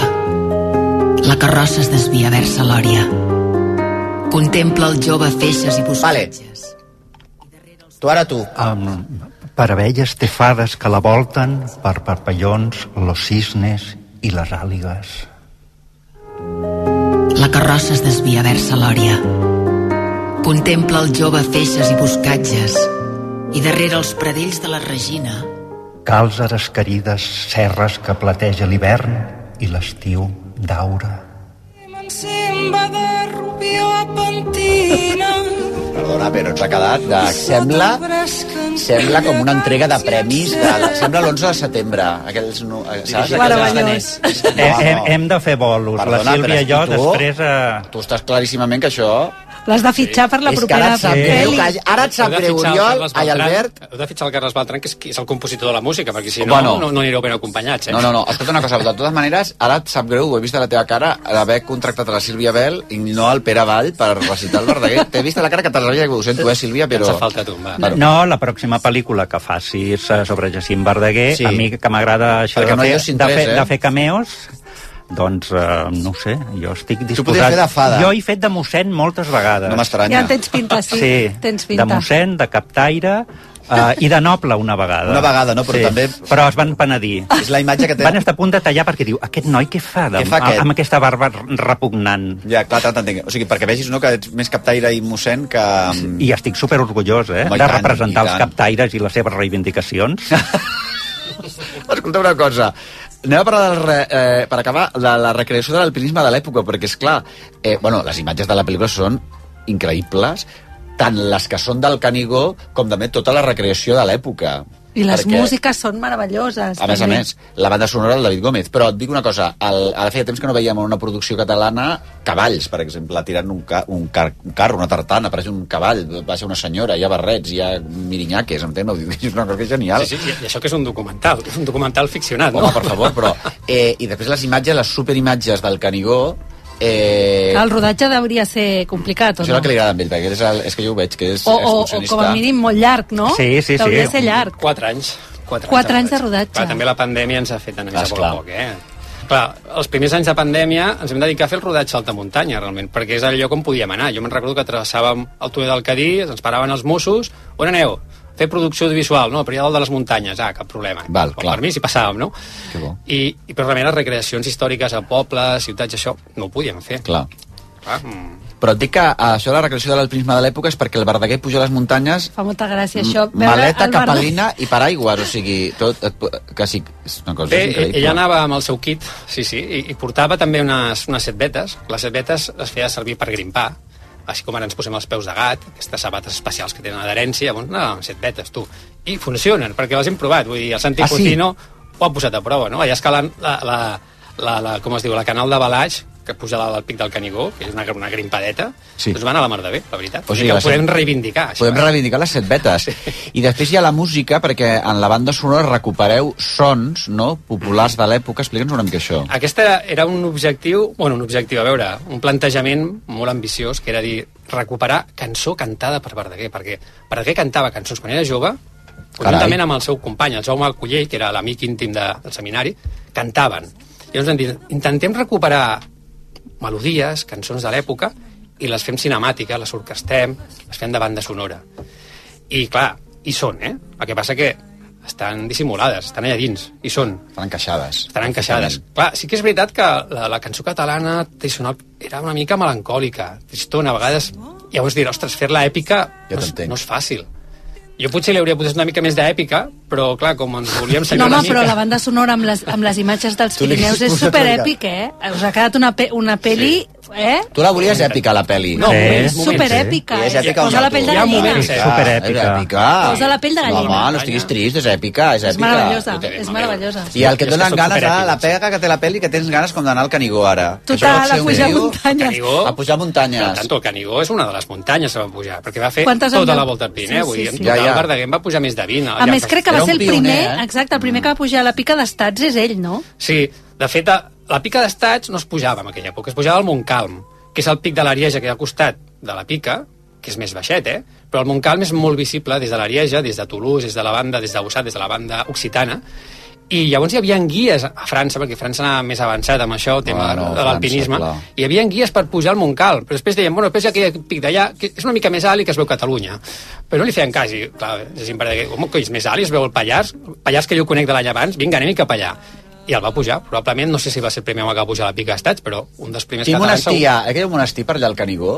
S18: La carrossa es desvia vers Salòria. Contempla el jove feixes i buscatges.
S5: Tu ara tu.
S12: Amb parabelles tefades que la volten per papallons, los cisnes i les àligues.
S18: La carrossa es desvia vers Salòria. Contempla el jove feixes i buscatges. I darrere els pradells de la Regina,
S12: Càlzeres querides, serres que plateja l'hivern i l'estiu d'aura.
S11: M'ensemba de rubió a pentina.
S5: Perdona, però ens ha quedat de... Sembla, sembla com una entrega de premis. De, sembla l'11 de setembre. Aquells, no, eh, saps?
S12: Dirigit als
S5: Aquells
S12: Meravellós. Eh, hem- hem de fer bolos. La Sílvia i jo després,
S5: Tu estàs claríssimament que això...
S15: L'has de fitxar per la
S5: És que
S15: propera
S5: ara et sap greu,
S15: pel·li.
S5: que ara et sap
S13: Heu de
S5: greu,
S13: fitxar el
S5: Oriol,
S13: Carles
S5: ai,
S13: Beltrán.
S5: Albert.
S13: Heu de fitxar el Carles Beltran, que és, que és el compositor de la música, perquè si no,
S5: Bueno.
S13: no, no anireu ben acompanyats, eh?
S5: No, no, no, escolta una cosa, de totes maneres, ara et sap greu, ho he vist a la teva cara, d'haver contractat a la Sílvia Bel i no al Pere Vall per recitar el Verdaguer. T'he vist a la cara que te l'havia hagut, ho sento, eh, Sílvia, però...
S12: Ens fa falta
S13: tu, va.
S5: Bueno,
S12: No, la pròxima pel·lícula que facis eh, sobre Jacint Verdaguer,
S5: Sí.
S12: sí. a mi que m'agrada això
S5: Perquè
S12: de,
S5: no hi ha
S12: fer,
S5: cinc
S12: de,
S5: tres,
S12: fer,
S5: eh?
S12: de fer cameos, doncs, eh, no ho sé, jo estic disposat...
S5: podries fer de fada.
S12: Jo he fet de mossèn moltes vegades.
S5: No m'estranya.
S15: Ja en tens pinta, sí. Tens pinta.
S12: de mossèn, de captaire... Uh, i de noble una vegada.
S5: Una vegada, no? Però també-
S12: Però es van penedir.
S5: És la imatge que té-
S12: Van estar a punt de tallar perquè diu, aquest noi què fa, de,
S5: Què fa aquest?"
S12: amb aquesta barba repugnant?
S5: Ja, clar, t'entenc. O sigui, perquè vegis no, que ets més captaire i mossèn que...
S12: I estic super orgullós, eh,
S5: Mm. Home, i
S12: de
S5: tant,
S12: representar
S5: i
S12: els
S5: tant.
S12: captaires i les seves reivindicacions.
S5: Escolta una cosa, anem a parlar, del re, eh, per acabar, de la recreació de l'alpinisme de l'època, perquè, és clar, eh, bueno, les imatges de la pel·lícula són increïbles, tant les que són del Canigó com, també, tota la recreació de l'època.
S15: I les
S5: Perquè-
S15: músiques són meravelloses.
S5: A més a
S15: també.
S5: més, la banda sonora del David Gómez. Però et dic una cosa, el, ara feia temps que no veiem en una producció catalana cavalls, per exemple, tirant un, ca, un, car, un carro, una tartana, apareix un cavall, baixa una senyora, hi ha barrets, hi ha mirinyaques, entén? És una cosa que és genial.
S13: Sí, sí, i això que és un documental, és un documental ficcionat,
S5: Home,
S13: no?
S5: per favor, però... Eh, I després les imatges, les superimatges del Canigó... Eh,
S15: El rodatge hauria ser complicat, o
S5: Això és
S15: no?
S5: el que li agrada a ell, perquè és, el, és que jo ho veig, que és
S15: O, o, o
S5: excursionista.
S15: com a mínim molt llarg, no?
S5: Sí, sí, sí.
S15: Hauria ser llarg.
S13: Quatre anys. Quatre,
S15: Quatre anys de
S13: Clar,
S15: rodatge.
S13: també la pandèmia ens ha fet anar més a poc
S5: Esclar.
S13: a poc, eh? Clar, els primers anys de pandèmia ens vam dedicar a fer el rodatge a alta muntanya, realment, perquè és el lloc on podíem anar. Jo me'n recordo que travessàvem el Tué del Cadí, ens paraven els Mossos, on aneu? A Fer producció audiovisual, no? Però hi ha dalt de les muntanyes, ah, cap problema. Val, clar. Per mi s'hi passàvem, no?
S5: Que bo.
S13: I, I, però realment les recreacions històriques a pobles, ciutats, això, no ho podíem fer.
S5: Clar.
S13: Clar, mm.
S5: Però et dic que eh, això de la recreació de l'alpinisme de l'època és perquè el Verdaguer puja a les muntanyes
S15: Fa molta gràcia això.
S5: M- Maleta,
S15: el Bernat-
S5: capelina i paraigües, o sigui, tot, et, po- quasi, és una cosa
S15: Eh,
S13: Bé,
S5: increïble.
S13: ella anava amb el seu kit, sí, sí, i, i portava també unes, unes setbetes. Les setbetes es feia servir per grimpar, així com ara ens posem els peus de gat, aquestes sabates especials que tenen adherència, bueno, no, amb setbetes, tu. I funcionen, perquè les hem provat, vull dir, el Santi
S5: Ah,
S13: ah,
S5: sí?
S13: Cotino ho ha posat a prova, no? Allà escalant la, la, la, la, com es diu, la canal de Balaix, que puja dalt al pic del Canigó, que és una, una grimpadeta,
S5: Sí.
S13: sí. doncs va anar a la mar de bé, la veritat.
S5: O
S13: O
S5: sigui,
S13: sigui, que
S5: va
S13: ho
S5: ser-
S13: podem reivindicar, això. eh?
S5: Podem
S15: eh?
S5: reivindicar les set betes. I després hi ha la música, perquè en la banda sonora recupereu sons no, populars de l'època. Explica'ns una mica això.
S13: Aquesta era un objectiu, bueno, un objectiu, a veure, un plantejament molt ambiciós, que era dir, recuperar cançó cantada per Verdaguer, perquè Verdaguer cantava cançons quan era jove, conjuntament amb el seu company, el Jaume Collell, que era l'amic íntim de, del seminari, cantaven. I llavors vam dir, intentem recuperar melodies, cançons de l'època, i les fem cinemàtiques, les orquestem, les fem de banda sonora. I, clar, hi són, eh? El que passa que estan dissimulades, estan allà dins, hi són.
S5: Estan encaixades.
S13: Estan encaixades. Clar, sí que és veritat que la, la cançó catalana tradicional era una mica melancòlica, tristona, a vegades... Llavors dir, ostres, fer-la èpica
S5: Ja
S13: no, és,
S5: t'entenc.
S13: no és fàcil. Jo potser li hauria posat una mica més d'èpica, però clar, com ens volíem
S15: No,
S13: seguir
S15: home,
S13: una
S15: però la
S13: mica...
S15: banda sonora amb les, amb les imatges dels
S5: Tu li has
S15: Pirineus és
S5: posat
S15: superèpic, eh? Us ha quedat una, pe una peli... Sí. Eh?
S5: Tu la volies èpica, la peli.
S15: No, Sí. moments, moments, Superèpica,
S5: Sí, És
S15: eh?
S5: èpica.
S15: Posa
S5: un
S15: la pell de
S5: rato.
S15: gallina. Hi ha moments,
S5: És
S15: eh?
S5: superèpica. És èpica.
S15: Posa la pell de gallina.
S5: Home, no estiguis trist, és èpica, és èpica.
S15: És meravellosa, és meravellosa.
S5: I el que et donen ganes,
S15: a
S5: ara, la pega que té la peli, que tens ganes com d'anar al Canigó, ara. Això pot ser
S15: Total, a
S5: un
S15: pujar
S5: riu.
S15: muntanyes.
S5: A pujar muntanyes.
S13: Però, tanto, el Canigó és una de les muntanyes que va pujar, perquè va fer
S15: Quantes en
S13: tota
S15: van-
S13: la volta al Pirineu.
S15: Sí, sí,
S13: i en
S15: sí.
S13: total,
S5: Ja, ja.
S13: Verdaguer en va pujar més de 20.
S5: Ah,
S15: A més, crec que va ser el primer,
S13: eh?
S15: exacte, el
S5: Mm.
S15: primer que va pujar a la pica d'estats és ell, no?
S13: Sí, de fet, a- la pica d'estats no es pujava en aquella època, es pujava al Montcalm, que és el pic de l'Arieja que hi ha al costat de la pica, que és més baixet, eh? Però el Montcalm és molt visible des de l'Arieja, des de Toulouse, des de la banda, des de Bossat, des de la banda occitana, i llavors hi havia guies a França, perquè França anava més avançat amb això, el tema
S5: Bueno,
S13: bueno, de
S5: França,
S13: l'alpinisme,
S5: clar.
S13: hi havia guies per pujar al Montcal, però després deien, bueno, després hi ha aquell pic d'allà, que és una mica més alt i que es veu Catalunya. Però no li feien cas, i clar, és que, home, que és més alt i es veu el Pallars, el Pallars que jo conec de l'any abans, vinga, anem cap allà. I el va pujar, probablement, no sé si va ser el primer home que va pujar a la pica d'estats, però un dels primers
S5: Quin
S13: catalans...
S5: monestir hi
S13: segur.
S5: ha? Aquell monestir per allà al Canigó?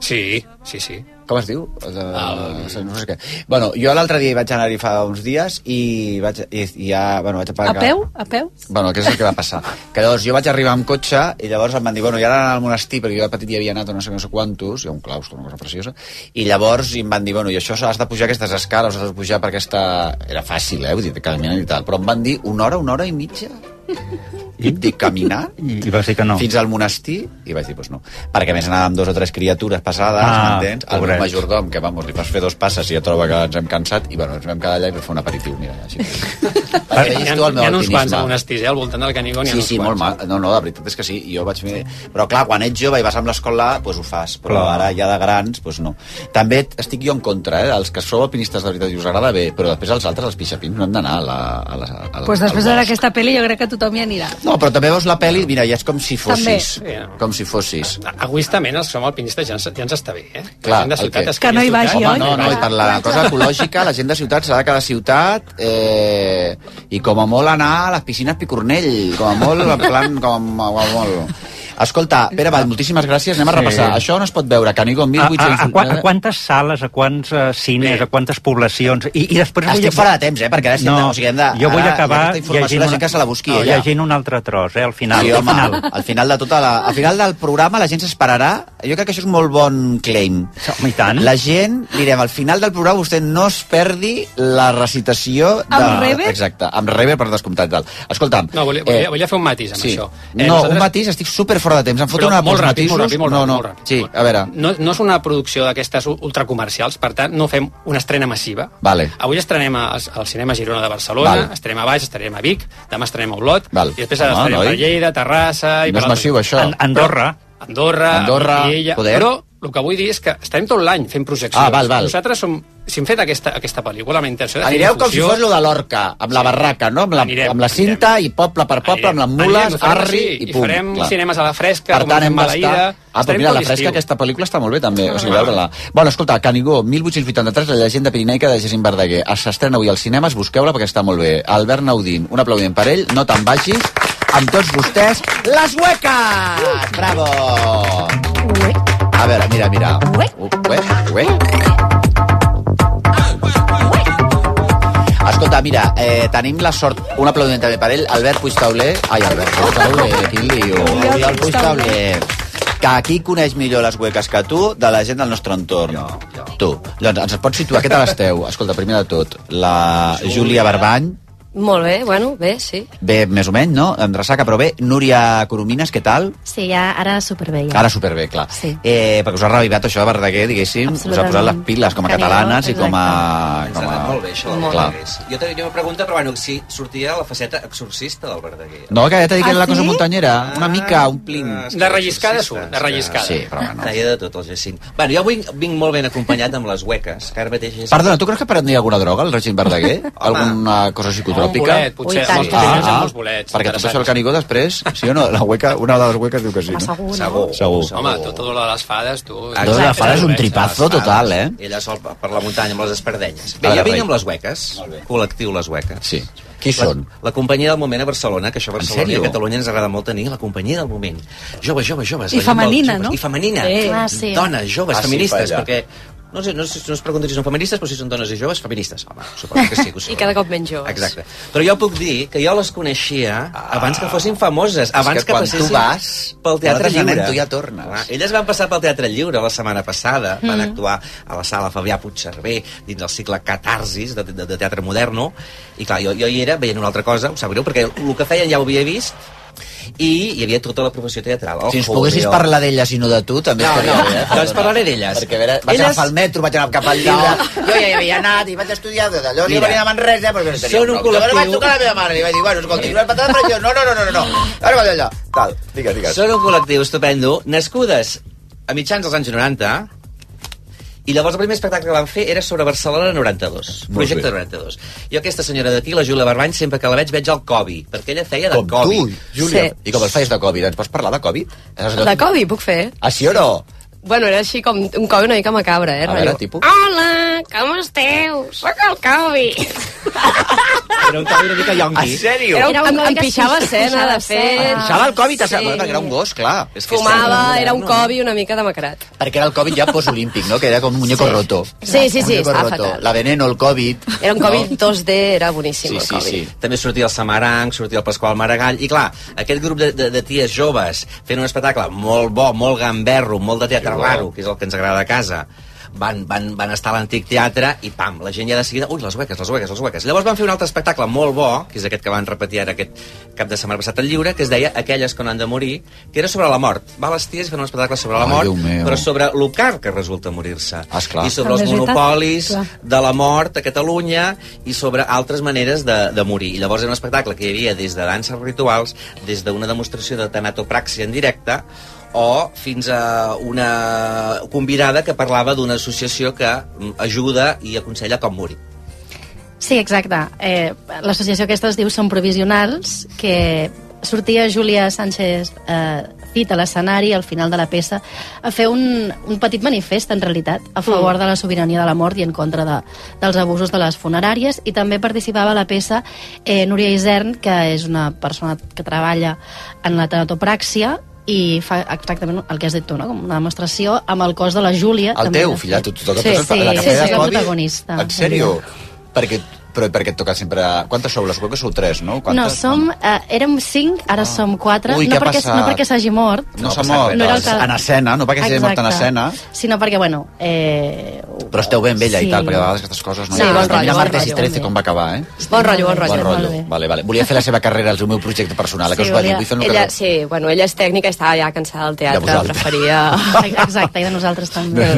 S13: Sí, sí, sí.
S5: Com es diu? De... El... No sé què. Bueno, jo l'altre dia hi vaig anar-hi fa uns dies i vaig, i, i ja, bueno, vaig
S15: A
S5: apagar...
S15: peu? A peu?
S5: Bueno, què és el que va passar? Que llavors jo vaig arribar amb cotxe i llavors em van dir, bueno, i ara anar al monestir, perquè jo de petit hi havia anat a no sé, no sé quantos, hi ha un claustre, una cosa preciosa, i llavors i em van dir, bueno, i això has de pujar aquestes escales, has de pujar per aquesta... Era fàcil, eh, vull dir, caminant i tal, però em van dir una hora, una hora i mitja. I dic, caminar?
S12: I vas dir que no.
S5: Fins al monestir? I vaig dir, doncs no. Perquè a més anava amb dues o tres criatures passades,
S12: Ah,
S5: ah, m'entens? El meu
S12: pobrets.
S5: majordom, que vamos, li vas fer dos passes i ja troba que ens hem cansat, i bueno, ens vam quedar allà i vam fer un aperitiu, mira, així.
S13: Hi ha,
S5: Veies tu el meu
S13: hi ha uns quants
S5: alpinisme.
S13: monestirs, eh? Al voltant del Canigó n'hi ha
S5: Sí,
S13: uns
S5: sí, molt
S13: quants.
S5: mal. No, no, la veritat és que sí. Jo vaig fer... Però clar, quan ets jove i vas amb l'escola, doncs ho fas. Però clar. ara ja de grans, doncs no. També et- estic jo en contra, eh? Els que sou alpinistes de veritat i us agrada bé, però després els altres, els pixapins, no hem d'anar a la... A la, a la
S15: Doncs pues després
S5: al bosc.
S15: d'aquesta pel·li jo crec que tothom hi anirà.
S5: No, però també veus la pel·li, mira, ja és com si fossis.
S15: També.
S5: També. Com si fossis.
S13: Ah, Egoistament, els que som alpinistes ja ens, ja ens està bé, eh?
S5: Clar,
S13: la gent de
S5: el
S13: ciutat
S5: que-
S13: es crea ciutat.
S5: Home, no, no, i per la cosa ecològica, la gent de ciutat serà de cada ciutat eh, i com a molt anar a les piscines Picornell, com a molt, en plan, com a, com a molt. Escolta, Pere Vall, moltíssimes gràcies. Anem a
S12: Sí.
S5: repassar. Això no es pot veure. Canigo
S12: A, a, a,
S5: 1800...
S12: qua-
S1: eh?
S12: a quantes sales, a quants uh, cines, a quantes poblacions... I, i després vull
S5: Estic
S12: acabar-
S5: fora de temps, eh? Perquè ara, sí, no, o sigui, hem de,
S12: jo vull
S5: ara,
S12: acabar
S5: aquesta informació la gent que se la busqui,
S12: no,
S5: ella.
S12: llegint un altre tros, eh? Al final.
S5: Sí,
S12: al
S5: home,
S12: final.
S5: al final de tota la, al final del programa la gent s'esperarà. Jo crec que això és un molt bon claim.
S12: I tant.
S5: La gent, direm, al final del programa vostè no es perdi la recitació... De...
S13: Amb reverb?
S5: Exacte, amb Reber per descomptat. i Tal. Escolta'm...
S13: No, volia, volia, volia fer un matís amb
S5: sí.
S13: això.
S5: Eh, no, nosaltres... un matís, estic super fora de temps. Em foto
S13: Però
S5: una
S13: molt
S5: pels
S13: ràpid,
S5: matisos.
S13: molt ràpid, molt
S5: no,
S13: ràpid,
S5: no.
S13: molt ràpid.
S5: Sí, a veure.
S13: No, no és una producció d'aquestes u- ultracomercials, per tant, no fem una estrena massiva.
S5: Vale.
S13: Avui estrenem a- al Cinema Girona de Barcelona,
S5: Val.
S13: estrenem a Baix, estrenem a Vic, demà estrenem a Olot,
S5: Val.
S13: i després
S5: Home,
S13: estrenem
S5: noi.
S13: a Lleida, Terrassa... I
S5: No és massiu, això. An- Andorra.
S13: Andorra,
S5: Andorra,
S13: Viella...
S5: Poder.
S13: Però el que vull dir és que estarem tot l'any fent projeccions.
S5: Ah, val, val.
S13: Nosaltres som... Si hem fet aquesta, aquesta pel·lícula amb la intenció de fer
S5: Anireu com si
S13: difusió-
S5: fos lo de l'orca, amb la barraca, no? Amb la,
S13: Anirem,
S5: amb la cinta i poble per poble, amb les
S13: Anirem,
S5: mules,
S13: ho farem
S5: arri
S13: així,
S5: i
S13: i
S5: pum.
S13: farem cinemes a la fresca,
S5: per
S13: com
S5: tant,
S13: fem
S5: hem d'estar...
S13: Balaïda.
S5: Ah, però
S13: Estarem
S5: mira,
S13: tot
S5: la fresca,
S13: l'estiu.
S5: aquesta pel·lícula està molt bé, també. O sigui,
S13: Ah.
S5: veure-la. Bueno, escolta, Canigó, 1883, la llegenda pirinaica de Jacint Verdaguer. S'estrena avui als cinemes, busqueu-la perquè està molt bé. Albert Naudín, un aplaudiment per ell, no te'n vagis. Amb tots vostès, les hueques! Ah, Bravo! A veure, mira, mira. Ué, ué. Escolta, mira, eh, tenim la sort... Un aplaudiment també per ell, Albert Puigtauler. Ai, Albert Puigtauler, quin lío. Oriol Puigtauler. Que qui coneix millor les hueques que tu de la gent del nostre entorn? Tu. Doncs ens pots situar, què tal esteu? Escolta, primer de tot, la Júlia Barbany,
S17: Molt bé, bueno, bé, sí.
S5: bé, més o menys, no? Em ressaca, però bé. Núria Coromines, què tal?
S16: Sí, ja, ara superbé. Ja.
S5: Ara superbé, clar.
S16: Sí.
S5: Eh, perquè us ha revivat això de Verdaguer, diguéssim, us ha posat
S16: Absolutament.
S5: les piles com a
S16: Canigó,
S5: catalanes i com a... Com a...
S14: Molt bé, això del
S5: Clar.
S14: Verdaguer. Jo tenia una pregunta, però bueno, si sortia la faceta exorcista del Verdaguer.
S5: No, que ja t'he dit que era
S14: Ah,
S5: la cosa
S14: sí?
S5: muntanyera. Una
S14: Ah,
S5: mica, un plin.
S14: De relliscada surt, de relliscada.
S5: Sí, però bueno.
S14: Deia de tot el Jacint. Bueno, jo vinc, vinc molt ben acompanyat amb les hueques, que ara mateix és...
S5: Perdona, tu creus que prendria alguna droga, el règim Verdaguer? Alguna cosa psicotròpica?
S14: bolet, potser, Ui, tant, amb els tant.
S5: ah,
S14: pirineus hi ha
S5: ah,
S14: molts bolets
S5: perquè tot
S14: interessants.
S5: això el canigó després, sí o no? La hueca, una de les hueques diu que sí, no?
S14: Segur,
S5: Segur. Segur.
S13: Home, tota l'hora de les fades, tu...
S5: Ah, L'hora de les fades és un tripazo total, eh?
S14: Ella sol per per la muntanya amb les espardenyes. Bé,
S5: A veure,
S14: jo vinc
S5: Rei.
S14: amb les hueques, col·lectiu les hueques.
S5: Sí.
S14: la,
S5: Qui són?
S14: La companyia del moment a Barcelona, que això a Barcelona i
S5: sèrio?
S14: a Catalunya ens agrada molt tenir, la companyia del moment. Joves, joves, joves. la gent
S15: I
S14: dels
S15: femenina,
S14: joves.
S15: no?
S14: I femenina.
S15: Sí. Ah, sí.
S14: Dones, joves,
S5: Ah, sí,
S14: feministes,
S5: falla.
S14: perquè No sé, no, sé, no es pregunto si són feministes, però si són dones i joves, feministes. Home, suposo que sí que ho són.
S17: I cada cop menys joves.
S14: Exacte. Però jo puc dir que jo les coneixia abans que fossin famoses, abans
S5: Ah. que quan tu
S14: passessin
S5: vas,
S14: pel Teatre
S5: nosaltres anem,
S14: Lliure.
S5: tu ja tornes.
S14: Clar, Elles van passar pel Teatre Lliure la setmana passada, mm. van
S5: Mm.
S14: actuar a la sala Fabià Puigcerver dins del cicle Catarsis de, de, de Teatre Moderno, i clar, jo, jo hi era veient una altra cosa, em sap greu, perquè el que feien ja ho havia vist, i hi havia tota la professió teatral.
S5: Si ens
S14: Ojo,
S5: poguessis
S14: jo.
S5: parlar d'elles i no de tu, també
S14: No,
S5: estaria
S14: no,
S5: bé. eh?
S14: doncs parlaré d'elles.
S5: Perquè a veure, vaig
S14: Elles-
S5: agafar el metro, vaig anar cap al llibre... No. Jo ja hi havia anat i vaig estudiar de d'allò, jo
S14: Mira.
S5: venia de Manresa, però no tenia
S14: Són un
S5: prou. Llavors
S14: col·lectiu-
S5: vaig trucar a la meva mare i vaig dir, bueno, escolti, una patata, però jo, no, no, no, no, no, no. Ara vaig allà. Tal, digues, digues.
S14: Són un col·lectiu estupendo, nascudes a mitjans dels anys 90, i llavors el primer espectacle que van fer era sobre Barcelona 92,
S5: Molt
S14: projecte
S5: bé.
S14: 92. Jo aquesta senyora d'aquí, la Júlia Barbany, sempre que la veig veig el Covid, perquè ella feia de
S5: Com
S14: Covid.
S5: tu, Júlia. Sí. I com els feies de Covid? Ens pots parlar de Covid?
S17: De Covid puc fer?
S5: Ah, sí o no?
S17: Bueno, era així com un Covid una mica macabre, eh?
S5: A veure,
S17: rotllo.
S5: tipus.
S17: Hola, com esteu? Sóc el Covid.
S14: Era un Covid una mica yonqui.
S5: En sèrio?
S17: Era un- Era un em- Covid em que pixava sí, escena, pixava de fet. escena.
S5: Pixava el Covid, sí.
S17: Sí.
S5: perquè era un gos, clar. És que
S17: Fumava,
S5: estem-
S17: era un Covid una mica demacrat.
S5: Perquè era el Covid ja postolímpic, no? Que era com un muñeco
S17: Sí.
S5: roto.
S17: Sí, sí, sí,
S5: Un muñeco
S17: estava
S5: roto.
S17: fatal.
S5: La veneno, el Covid...
S17: Era un Covid 2D, era boníssim el Covid.
S14: També sortia el Samaranc, sortia el Pasqual Maragall, i clar, aquest grup de, de, de ties joves fent un espectacle molt bo, molt gamberro, molt de teatre raro, que és el que ens agrada a casa, van, van, van estar a l'antic teatre i pam, la gent ja de seguida, ui, les hueques, les hueques, les hueques. Llavors van fer un altre espectacle molt bo, que és aquest que van repetir ara aquest cap de setmana passat al lliure, que es deia Aquelles que no han de morir, que era sobre la mort. Va a les ties i fan un espectacle sobre la
S5: Ai,
S14: mort,
S5: Déu meu. Ah,
S14: però sobre lo car que resulta morir-se.
S5: Esclar.
S14: I sobre els
S5: També és veritat,
S14: monopolis,
S5: clar.
S14: de la mort a Catalunya i sobre altres maneres de, de morir. I llavors era un espectacle que hi havia des de danses rituals, des d'una demostració de tanatopràxia en directe, o fins a una convidada que parlava d'una associació que mm, ajuda i aconsella com morir.
S16: Sí, exacte. Eh, L'associació aquesta es diu Som Provisionals, que sortia Júlia Sánchez eh, Cit a l'escenari al final de la peça a fer un, un petit manifest, en realitat, a
S5: Mm.
S16: favor de la sobirania de la mort i en contra de, dels abusos de les funeràries. I també participava a la peça eh, Núria Isern, que és una persona que treballa en la tanatopràxia i fa exactament el que has dit tu, no? com una demostració amb el cos de la Júlia.
S5: El
S16: també,
S5: teu,
S16: de fet.
S5: fillat, tu, tu toques
S16: sí,
S5: tots els-
S16: sí,
S5: la que
S16: sí,
S5: feia de
S16: sí, és la
S5: Covid?
S16: protagonista.
S5: En sèrio? Perquè, però perquè et toca sempre... Quantes sou? Les supongo que sou tres, no? Quantes? Ah.
S16: No, som, eh, érem cinc, ara som quatre.
S5: Ui, què
S16: no,
S5: ha
S16: perquè,
S5: passat?
S16: no perquè s'hagi mort.
S5: No s'ha mort,
S16: era el
S5: doncs, en escena, no perquè s'hagi mort en escena.
S16: Sinó perquè, bueno... Eh...
S5: Però esteu ben vella
S16: Sí.
S5: i tal, perquè a vegades aquestes coses... No
S16: Sí, bon rotllo,
S5: Mira
S16: bon
S5: martes i
S16: rotllo,
S5: 13
S16: molt
S5: com va acabar, eh?
S17: Bon rotllo, bon rotllo.
S5: Bon rotllo. Vale, vale. Volia fer la seva carrera, el meu projecte personal, sí, que us va dir, vull fer una
S17: ella,
S5: carrera...
S17: sí, bueno, ella és tècnica i estava ja cansada del
S5: De
S17: teatre,
S5: vosaltres.
S17: preferia...
S16: Exacte, i de nosaltres també.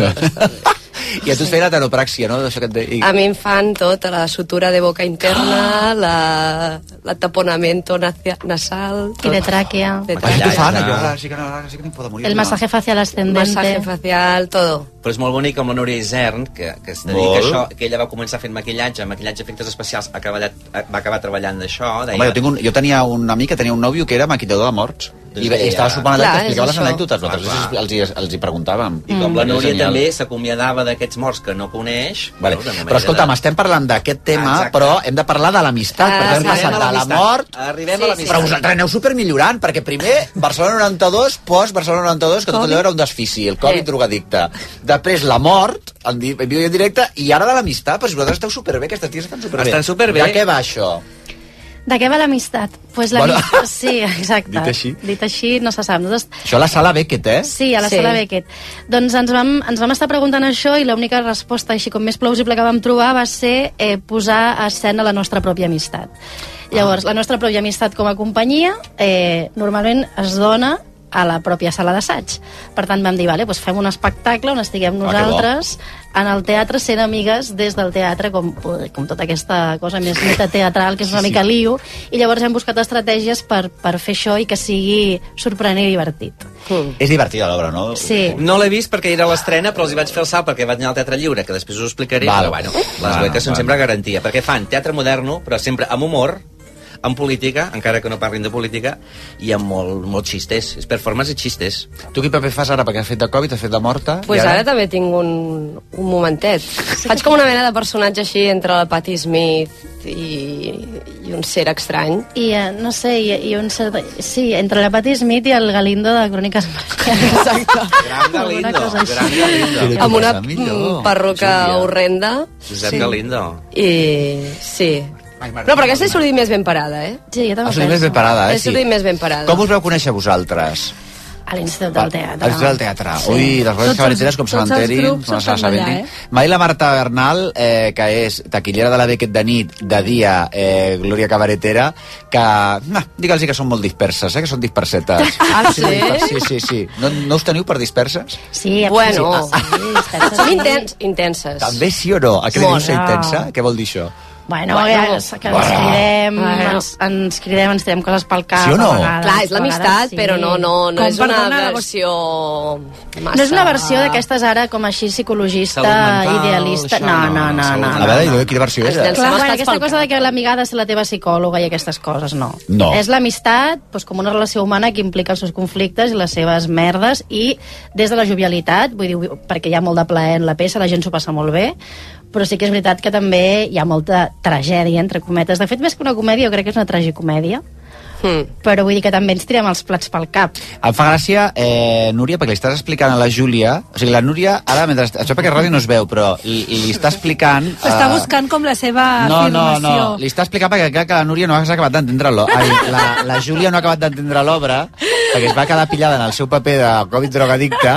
S5: I a tu et feia la tanopràxia, no? Això que et deia.
S17: A mi em fan tot, la sutura de boca
S16: Ah.
S17: interna, la, la taponamiento nacia- nasal... Tot.
S16: I de tràquea.
S17: De
S5: Ai, tu fan,
S14: Ja,
S5: jo
S14: ja.
S5: ara sí que no, ara sí que no em poden morir.
S16: El masaje facial ascendente.
S17: Masaje facial, todo.
S14: Però és molt bonic com la Núria Isern, que, que es dedica a
S5: Molt.
S14: això, que ella va començar fent maquillatge, maquillatge, efectes especials, ha treballat, va acabar treballant d'això. deia-
S5: Home, jo, tinc un, jo tenia un amic que tenia un nòvio que era maquillador de morts. I,
S14: Doncs
S5: i estava
S14: ja.
S5: sopant allà,
S14: Clar,
S5: que explicava
S14: és
S5: les
S14: això.
S5: anècdotes. Nosaltres
S14: Clar,
S5: els, els, hi- els hi preguntàvem.
S14: I com la
S5: Era
S14: Núria
S5: genial.
S14: també s'acomiadava d'aquests morts que no coneix...
S5: Vale.
S14: bueno, d'una
S5: Però escolta'm,
S14: manera
S5: estem parlant d'aquest tema,
S14: Ah,
S5: ah,
S14: exacte.
S5: però hem de parlar de l'amistat,
S14: Ah,
S5: perquè hem
S14: arribem
S5: passat
S14: a
S5: de la
S14: l'amistat. Ah,
S5: mort...
S14: Arribem a l'amistat.
S5: Però vosaltres aneu supermillorant, perquè primer Barcelona 92, post Barcelona 92, que tot allò era un desfici, el Covid
S17: Eh.
S5: drogadicte. Després la mort, en, di en vídeo i en directe, i ara de l'amistat, però si vosaltres esteu superbé, aquestes ties estan superbé.
S14: Estan superbé.
S5: De què va això?
S16: De què va l'amistat? Pues
S5: Bueno.
S16: l'amistat... Sí, exacte.
S5: Dit així.
S16: Dit així, no se sap. Nosaltres
S5: Això a la sala Beckett, eh?
S16: Sí, a la sí. sala Beckett. Doncs ens vam, ens vam estar preguntant això i l'única resposta així com més plausible que vam trobar va ser eh, posar a escena la nostra pròpia amistat. Llavors, la nostra pròpia amistat com a companyia eh, normalment es dona a la pròpia sala d'assaig. Per tant, vam dir, vale, doncs fem un espectacle on estiguem
S19: Ah, bo.
S16: nosaltres en el teatre sent amigues des del teatre, com, com tota aquesta cosa més metateatral, que és una
S19: Sí, sí.
S16: mica lío, i llavors hem buscat estratègies per, per fer això i que sigui sorprenent i divertit.
S5: És divertida l'obra, no?
S16: Sí.
S14: No l'he vist perquè era a l'estrena, però els hi vaig fer el salt perquè vaig anar al Teatre Lliure, que després us ho explicaré.
S5: Val.
S14: Però, bueno, les
S5: Val,
S14: beques són
S5: val.
S14: sempre garantia, perquè fan teatre moderno, però sempre amb humor, amb política, encara que no parlin de política, i amb molt, molt xistes. És performance i xistes.
S5: Tu quin paper fas ara? Perquè has fet de Covid, has fet de morta...
S17: Doncs pues ara també tinc un, un momentet. Faig com una mena de personatge així entre la Patti Smith i, i i un ser estrany.
S16: I, eh, no sé, i, i un certa... Sí, entre la Patti Smith i el Galindo de
S17: Oh,
S16: Cròniques Marcianes.
S17: Exacte.
S16: Gran
S17: Galindo,
S14: gran Galindo.
S17: Amb una
S14: Cosa millor.
S17: mm, perruca
S14: Júlia.
S17: horrenda.
S14: Josep Galindo.
S17: I sí. No, però aquesta he sortit més ben parada, eh?
S16: Sí, jo
S5: Has sortit més ben parada, eh?
S17: He sortit més ben parada.
S5: Com us vau conèixer vosaltres?
S16: A l'Institut del
S5: A
S16: Teatre.
S5: l'Institut del Teatre. Sí. Ui, les
S16: Tots
S5: coses
S16: els-
S5: cabareteres com
S16: tots els
S5: s'aventerin,
S16: grups
S5: com
S16: estan
S5: s'assabentin.
S16: allà,
S5: Eh? Mai la Marta Bernal, eh, que és taquillera de la Beckett de nit, de dia, eh, Glòria Cabaretera, que... Nah, Digue'ls que són molt disperses, eh, que són dispersetes.
S17: Ah, sí?
S5: Sí, sí, sí. No, no us teniu per disperses?
S16: Sí,
S17: bueno,
S5: sí.
S17: som intens, intenses.
S5: També sí o no? A què li
S16: Molt.
S5: dius ser intensa? Què vol dir això?
S16: Bueno,
S17: Bueno.
S16: que, ens- que ens
S5: Bueno.
S16: cridem,
S17: Bueno.
S16: ens, ens cridem, ens tirem coses pel cap.
S5: Sí o no?
S16: a vegades,
S17: Clar, és
S16: a vegades
S17: l'amistat,
S16: sí.
S17: però no, no, no
S16: Com,
S17: és una
S16: perdona,
S17: versió... Massa...
S16: No és una versió d'aquestes ara com així psicologista,
S5: Salut mental,
S16: idealista...
S5: això
S16: No, no, no. no,
S5: A veure, Glòria, quina versió és?
S16: Clar, bueno, aquesta cosa de que l'amiga ha de ser la teva psicòloga i aquestes coses, no.
S5: No.
S16: És l'amistat doncs, com una relació humana que implica els seus conflictes i les seves merdes i des de la jovialitat, vull dir, perquè hi ha molt de plaer en la peça, la gent s'ho passa molt bé, però sí que és veritat que també hi ha molta tragèdia, entre cometes. De fet, més que una comèdia, jo crec que és una tragicomèdia.
S17: Hmm.
S16: Però vull dir que també ens tirem els plats pel cap.
S5: Em fa gràcia, eh, Núria, perquè li estàs explicant a la Júlia... O sigui, la Núria, ara, mentre... Això perquè a ràdio no es veu, però li, li està explicant... eh,
S15: Està buscant com la seva
S5: No, no, no,
S15: afirmació.
S5: li està explicant perquè clar que la Núria no ha acabat d'entendre-lo. Ai, la, la Júlia no ha acabat d'entendre l'obra perquè es va quedar pillada en el seu paper de Covid drogadicte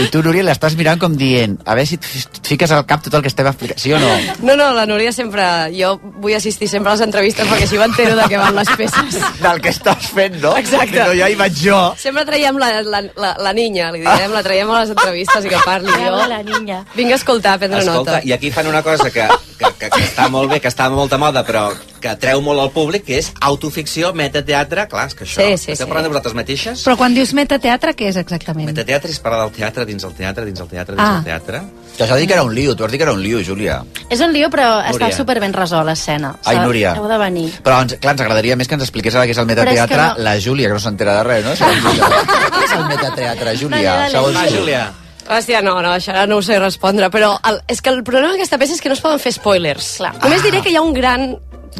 S5: i tu, Núria, l'estàs mirant com dient a veure si et fi- fiques al cap tot el que estem explicant, sí o no?
S17: No, no, la Núria sempre... Jo vull assistir sempre a les entrevistes perquè així m'entero de què van les peces.
S5: Del que estàs fent, no?
S17: Exacte.
S5: No, ja hi vaig jo.
S17: Sempre traiem la, la, la, la niña, li direm, la traiem a les entrevistes i que parli jo.
S16: La niña.
S17: Vinc a escoltar, a prendre
S14: Escolta,
S17: nota.
S14: i aquí fan una cosa que, que, que, que està molt bé, que està molt de moda, però que treu molt al públic, que és autoficció, metateatre, clar, és que això...
S15: Sí, sí,
S14: Esteu
S15: sí.
S14: parlant de vosaltres mateixes?
S15: Però quan dius metateatre, què és exactament?
S14: Metateatre és parar del teatre, dins el teatre, dins el teatre, dins
S16: Ah.
S14: el teatre.
S5: T'has dit que era un lío, tu has dit que era un lío, Júlia.
S16: És un lío, però està
S5: Núria.
S16: superben resolt l'escena.
S5: Ai,
S16: S'ha-
S5: Núria.
S16: Heu de venir.
S5: Però, ens, clar, ens agradaria més que ens expliqués ara què és el metateatre
S16: Però és que
S5: la Júlia, que no s'entera de res, no? Què és el metateatre, Júlia?
S17: Dale, dale.
S5: Segons
S17: Va,
S5: tu.
S17: Júlia. Hòstia, no, no, això ara no ho sé respondre, però el, és que el problema d'aquesta peça és que no es poden fer spoilers. Clar. Només diré que hi ha un gran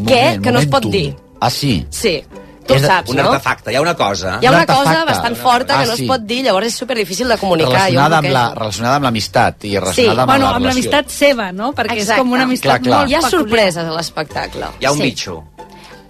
S17: què que no es pot
S14: momentum.
S17: dir.
S5: Ah, sí?
S17: Sí, tu ho saps,
S14: un
S17: no?
S14: artefacte, hi ha una cosa...
S17: Hi ha una cosa bastant forta
S5: Ah,
S17: que no es
S5: sí.
S17: pot dir, llavors és superdifícil de comunicar. jo
S5: relacionada, amb
S17: bloquejo.
S5: la, relacionada amb l'amistat i relacionada amb,
S15: bueno,
S5: la
S15: amb
S5: relació.
S15: l'amistat seva, no? Perquè
S17: Exacte.
S15: és com una amistat
S5: Clar, clar.
S15: molt
S5: Hi ha
S17: sorpreses a l'espectacle.
S5: Hi ha un bitxo.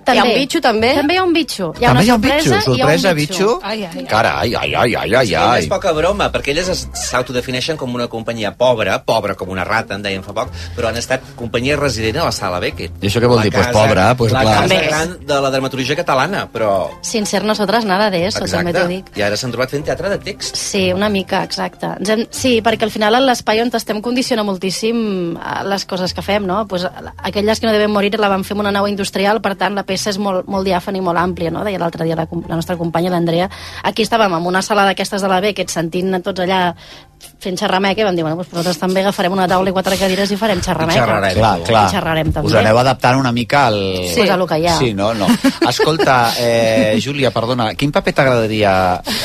S17: Hi ha un bitxo, també?
S16: També hi ha un bitxo. Hi ha
S5: També hi ha
S16: una
S5: un bitxo.
S16: sorpresa, i hi ha
S5: Sorpresa,
S16: un bitxo.
S5: bitxo.
S16: Ai, ai, ai.
S5: Carai, ai, ai, ai, ai,
S14: Ja, és
S5: ai.
S14: poca broma, perquè elles es- s'autodefineixen com una companyia pobra, pobra com una rata, en deien fa poc, però han estat companyia resident a la sala Beckett.
S5: I això què vol
S14: La
S5: dir? Pues
S14: casa-
S5: pobra, pues
S14: la
S5: clar.
S14: casa
S5: També.
S14: gran de la dramaturgia catalana, però...
S16: Sin ser nosaltres nada de eso, també t'ho dic.
S14: I ara s'han trobat fent teatre de text.
S16: Sí, una mica, exacte. Ens hem, sí, perquè al final l'espai on estem condiciona moltíssim eh, les coses que fem, no? Pues, eh, aquelles que no deben morir la van fer amb una nau industrial, per tant, la peça és molt, molt diàfana i molt àmplia, no? Deia l'altre dia la, com- la nostra companya, l'Andrea. Aquí estàvem en una sala d'aquestes de la B, que et sentint a tots allà fent xerrameca, i vam dir, bueno, doncs nosaltres també agafarem una taula i quatre cadires i farem xerrameca.
S5: Clar, clar.
S16: I xerrarem també.
S5: Us aneu adaptant una mica al...
S16: Sí. Pues a lo que hi ha.
S5: Sí, no, no. Escolta, eh, Júlia, perdona, quin paper t'agradaria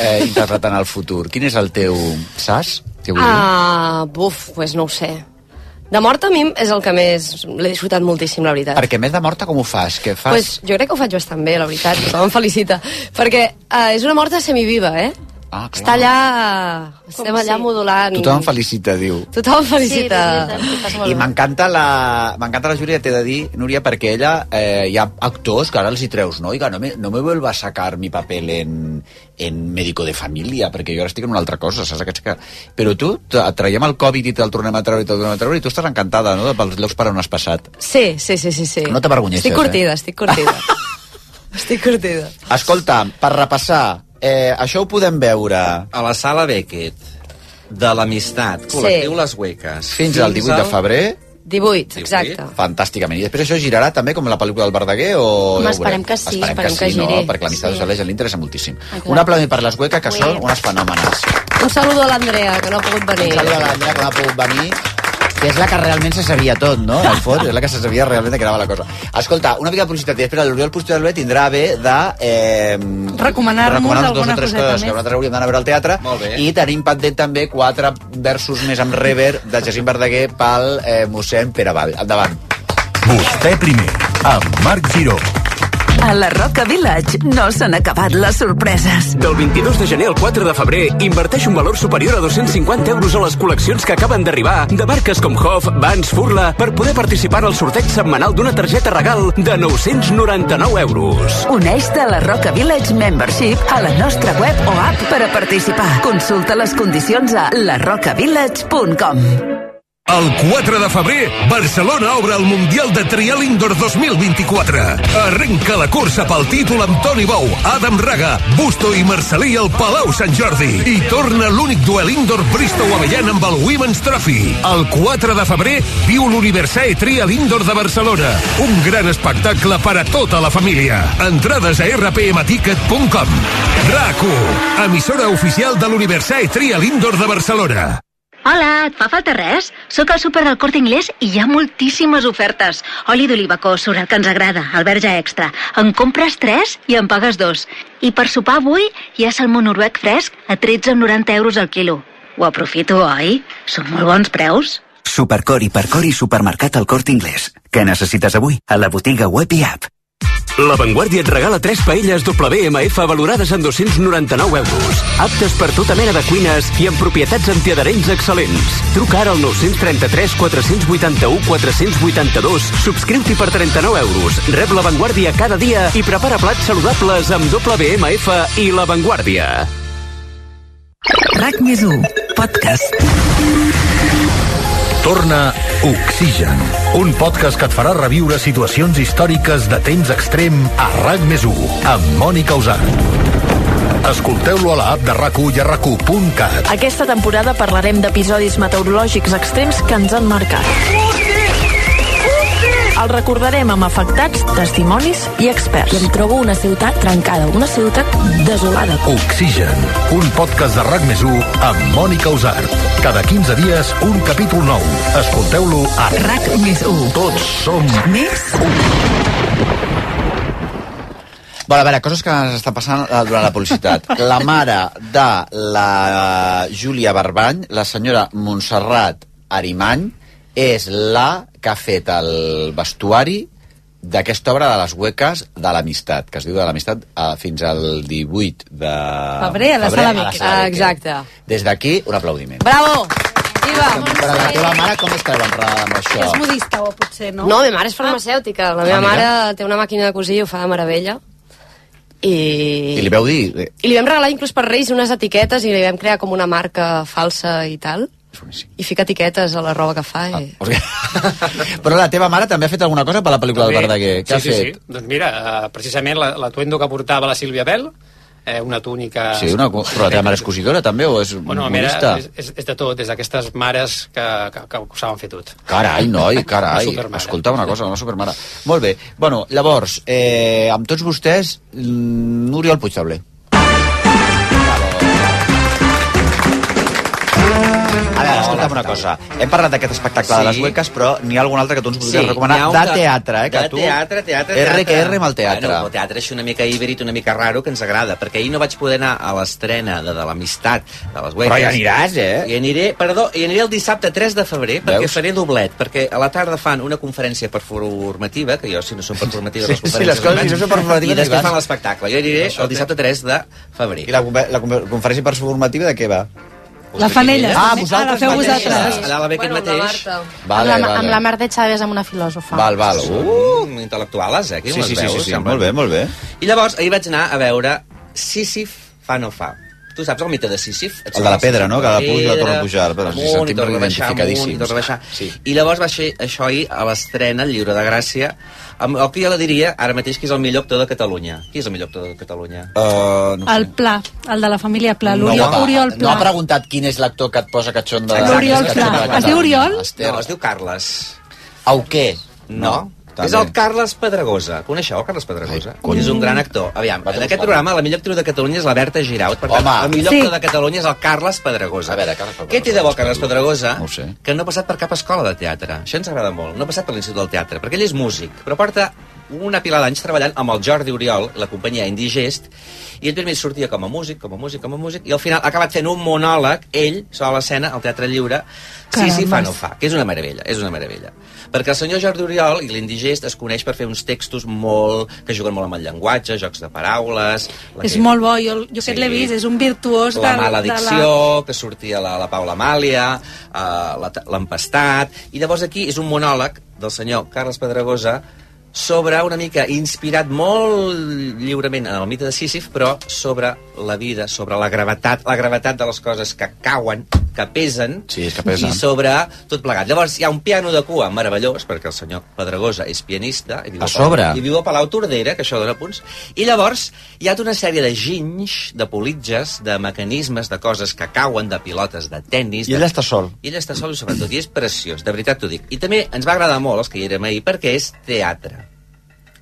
S5: eh, interpretar en el futur? Quin és el teu... Saps? Què vull dir?
S17: Ah, buf, pues no ho sé. De mort a mi és el que més l'he disfrutat moltíssim, la veritat.
S5: Perquè més de morta com ho fas? Què fas?
S17: Pues jo crec que ho faig bastant bé, la veritat. Tothom em felicita. Perquè eh, és una mort semiviva, eh?
S5: Ah, clar.
S17: Està allà... estem allà modulant...
S5: Tothom felicita, diu.
S17: Tothom felicita.
S5: I m'encanta la, m'encanta la Júlia, t'he de dir, Núria, perquè ella, eh, hi ha actors que ara els hi treus, no? I que no me, no me vuelva a sacar mi paper en, en médico de família, perquè jo ara estic en una altra cosa, saps? Aquests que... Però tu, t- et traiem el Covid i te'l tornem a treure i te'l tornem a treure i tu estàs encantada, no?, de pels llocs per on has passat.
S17: Sí, sí, sí, sí. sí.
S5: No t'avergonyeixes,
S17: Estic curtida,
S5: eh?
S17: estic curtida. estic curtida.
S5: Escolta, per repassar, eh, això ho podem veure...
S14: A la sala Beckett, de l'amistat, col·lectiu
S17: Sí.
S14: Les Hueques.
S5: Fins al 18 de febrer,
S17: 18, exacte.
S5: fantàsticament. I després això girarà també com la pel·lícula del Verdaguer o...
S17: Home,
S5: ja ho
S17: esperem
S5: veurem.
S17: que sí,
S5: Esperem,
S17: esperem
S5: que,
S17: que
S5: sí, no?
S17: giri.
S5: Perquè l'amistat
S17: Sí. Ah,
S5: de la gent li interessa moltíssim.
S17: clar.
S5: Un aplaudir per les hueques, que són unes fenòmenes.
S17: Un saludo a l'Andrea, que no ha pogut venir.
S5: Un saludo a l'Andrea, que no ha pogut venir. Que és la que realment se sabia tot, no? En el fons, és la que se sabia realment de què anava la cosa. Escolta, una mica de publicitat i després l'Oriol Puigdemont tindrà bé de... Eh,
S15: Recomanar-nos
S5: recomanar-nos dos
S15: alguna
S5: o tres
S15: coseta
S5: coses que
S15: més.
S5: nosaltres hauríem d'anar a veure al teatre. I tenim pendent també quatre versos més amb Rever de Jacint Verdaguer pel eh, mossèn Pere Vall. Endavant.
S3: Vostè primer, amb Marc Giró.
S19: A la Roca Village no s'han acabat les sorpreses.
S20: Del 22 de gener al 4 de febrer, inverteix un valor superior a 250 euros a les col·leccions que acaben d'arribar de barques com Hof, Vans, Furla, per poder participar en el sorteig setmanal d'una targeta regal de 999 euros.
S19: Uneix-te a la Roca Village Membership a la nostra web o app per a participar. Consulta les condicions a larocavillage.com.
S21: El 4 de febrer, Barcelona obre el Mundial de Trial Indoor 2024. Arrenca la cursa pel títol amb Toni Bou, Adam Raga, Busto i Marcelí al Palau Sant Jordi. I torna l'únic duel indoor Bristow Avellan amb el Women's Trophy. El 4 de febrer, viu l'Universae Trial Indoor de Barcelona. Un gran espectacle per a tota la família. Entrades a rpmticket.com. RAC1, emissora oficial de l'Universae Trial Indoor de Barcelona.
S22: Hola, et fa falta res? Sóc al súper del Corte Inglés i hi ha moltíssimes ofertes. Oli d'oliva cos sobre el que ens agrada, el verge extra. En compres 3 i en pagues 2. I per sopar avui hi ha salmó noruec fresc a 13,90 euros al quilo. Ho aprofito, oi? Són molt bons preus.
S23: Supercor i Percor i Supermercat al Corte Inglés. Què necessites avui? A la botiga web i app.
S20: La Vanguardia et regala 3 paelles WMF valorades en 299 euros. Aptes per tota mena de cuines i amb propietats antiadherents excel·lents. Truca ara al 933 481 482, subscriu-t'hi per 39 euros, rep La Vanguardia cada dia i prepara plats saludables amb WMF i La Vanguardia.
S19: RAC més 1, podcast.
S24: Torna Oxigen, un podcast que et farà reviure situacions històriques de temps extrem a RAC més 1, amb Mònica Usant. Escolteu-lo a l'app de RAC1 i a rac1.cat.
S25: Aquesta temporada parlarem d'episodis meteorològics extrems que ens han marcat. El recordarem amb afectats, testimonis i experts. I em trobo una ciutat trencada, una ciutat desolada.
S24: Oxigen, un podcast de RAC més 1 amb Mònica Usart. Cada 15 dies, un capítol nou. Escolteu-lo
S12: Ah.
S24: a
S19: RAC més 1.
S24: Tots som
S19: més
S5: Bueno, a veure, coses que ens estan passant eh, durant la publicitat. La mare de la eh, Júlia Barbany, la senyora Montserrat Arimany, és la que ha fet el vestuari d'aquesta obra de les hueques de l'amistat, que es diu de l'amistat eh, fins al 18 de...
S17: Febrer, a la Sala Vic. Ah,
S5: Vic.
S17: exacte.
S5: Des d'aquí, un aplaudiment.
S17: Bravo! Viva!
S5: Però la teva mare com es queda entrada amb això?
S17: És
S15: modista, o potser, no?
S17: No, la meva mare és farmacèutica. La meva
S5: Ah, mira.
S17: mare té una màquina de cosir i ho fa de meravella. I...
S5: I li veu dir...
S17: I li vam regalar inclús per Reis unes etiquetes i li vam crear com una marca falsa i tal. I fica etiquetes a la roba que fa.
S5: Ah.
S17: I...
S5: Però la teva mare també ha fet alguna cosa per la pel·lícula del Verdaguer. Què ha
S13: sí, sí,
S5: fet?
S13: Sí. Doncs mira, eh, precisament la- l'atuendo que portava la Sílvia Bell, eh, una túnica...
S5: Sí, una, co- però la teva mare és cosidora també o és
S13: Bueno,
S5: modista?
S13: mira, és, és, és de tot, és d'aquestes mares que, que, que ho saben fer tot.
S5: Carai, noi, carai.
S13: Una supermare.
S5: Escolta una cosa, una supermare. Molt bé. Bueno, llavors, eh, amb tots vostès, mm, Oriol Puigdebler. A veure, escolta'm una cosa. Hem parlat d'aquest espectacle sí. de les hueques, però n'hi ha algun altre que tu ens podries sí, recomanar
S14: n'hi ha un
S5: de teatre, eh? Que
S14: de
S5: tu...
S14: teatre, teatre,
S5: R
S14: teatre.
S5: que R amb el teatre.
S14: Bueno, el teatre és una mica híbrid, una mica raro, que ens agrada, perquè ahir no vaig poder anar a l'estrena de, de l'amistat de les Hueques.
S5: Però hi aniràs, eh?
S14: Hi aniré, perdó, hi aniré el dissabte 3 de febrer, perquè
S5: Veus?
S14: faré doblet, perquè a la tarda fan una conferència performativa, que jo, si no són performatives,
S5: Sí,
S14: les
S5: sí, les
S14: conferències...
S5: coses,
S14: no van,
S5: si no són performatives,
S14: I
S5: no hi vas.
S14: després fan l'espectacle. Jo aniré
S5: Això
S14: el dissabte 3 de febrer.
S5: I la, conver- la conver- conferència performativa de què va?
S15: La fan elles.
S5: Ah,
S15: també.
S5: vosaltres
S15: Ah, la feu
S5: mateixes.
S15: vosaltres.
S14: Allà la ve aquest mateix.
S5: Vale,
S16: amb, la,
S5: vale.
S16: amb la Mar de Chaves, amb una filòsofa.
S5: Val, val.
S14: Uh, intel·lectuales, eh? Aquí
S5: Sí,
S14: les
S5: sí, sí,
S14: veus,
S5: sí, sí.
S14: semblen.
S5: Molt bé, molt bé.
S14: I llavors, ahir vaig anar a veure Sísif fa no fa. Tu saps el mite de Sísif? Et
S5: El de
S14: sona
S5: la pedra, no? Que la puja i la
S14: pedra,
S5: torna a pujar, però ens hi
S14: amunt i
S5: sentim
S14: torna a baixar, amunt i
S5: identificadíssims.
S14: torna a baixar.
S5: Sí.
S14: I llavors va ser això ahir a l'estrena, el Lliure de Gràcia, amb el que jo la diria ara mateix que és el millor actor de Catalunya. Qui és el millor actor de Catalunya?
S5: Uh, no.
S15: El Pla, el de la família Pla,
S5: No,
S15: l'Oriol
S5: va,
S15: Oriol
S5: no
S15: Pla.
S5: ha preguntat quin és l'actor que et posa catxon de...
S15: Exacte, L'Oriol
S5: catxon de
S15: Pla.
S5: la
S15: Es diu Oriol?
S5: Esther.
S14: No, es diu Carles.
S5: Au què?
S14: No.
S5: També.
S14: És el Carles Pedregosa. Coneixeu el Carles Pedregosa? Ai, és un gran actor. Aviam, en aquest programa la millor actriu de Catalunya és la Berta Giraut. Per tant, el millor
S5: Sí.
S14: actor de Catalunya és el Carles Pedregosa. A veure, Carles Pedregosa. Què té de bo Carles Pedregosa? No sé. Que no ha passat per cap escola de teatre. Això ens agrada molt. No ha passat per l'Institut del Teatre, perquè ell és músic, però porta una pila d'anys treballant amb el Jordi Oriol, la companyia Indigest, i ell primer sortia com a músic, com a músic, com a músic, i al final ha acabat fent un monòleg, ell, sobre l'escena, al Teatre Lliure, sí, sí, fa,
S1: Carambes.
S14: no fa, que és una meravella, és una meravella. Perquè el senyor Jordi Oriol i l'Indigest es coneix per fer uns textos molt... que juguen molt amb el llenguatge, jocs de paraules... la
S15: És
S14: que-
S15: molt bo, jo, jo aquest l'he vist, és un virtuós
S14: la
S15: del-
S14: maledicció, la... que sortia la, la Paula Amàlia, eh, la- l'empestat... I llavors aquí és un monòleg del senyor Carles Pedregosa sobre una mica inspirat molt lliurement en el mite de Sísif, però sobre la vida, sobre la gravetat, la gravetat de les coses que cauen, que pesen,
S5: Sí, és que pesa.
S14: i sobre tot plegat. Llavors hi ha un piano de cua meravellós, perquè el senyor Pedregosa és pianista. I viu
S5: A sobre.
S14: I viu a Palau Tordera, que això dona punts. I llavors hi ha tota una sèrie de ginys, de politges, de mecanismes, de coses que cauen, de pilotes, de tennis...
S5: I
S14: de-
S5: ell està sol.
S14: I ell està sol, i sobretot, i és preciós, de veritat t'ho dic. I també ens va agradar molt, els que hi érem ahir, perquè és teatre.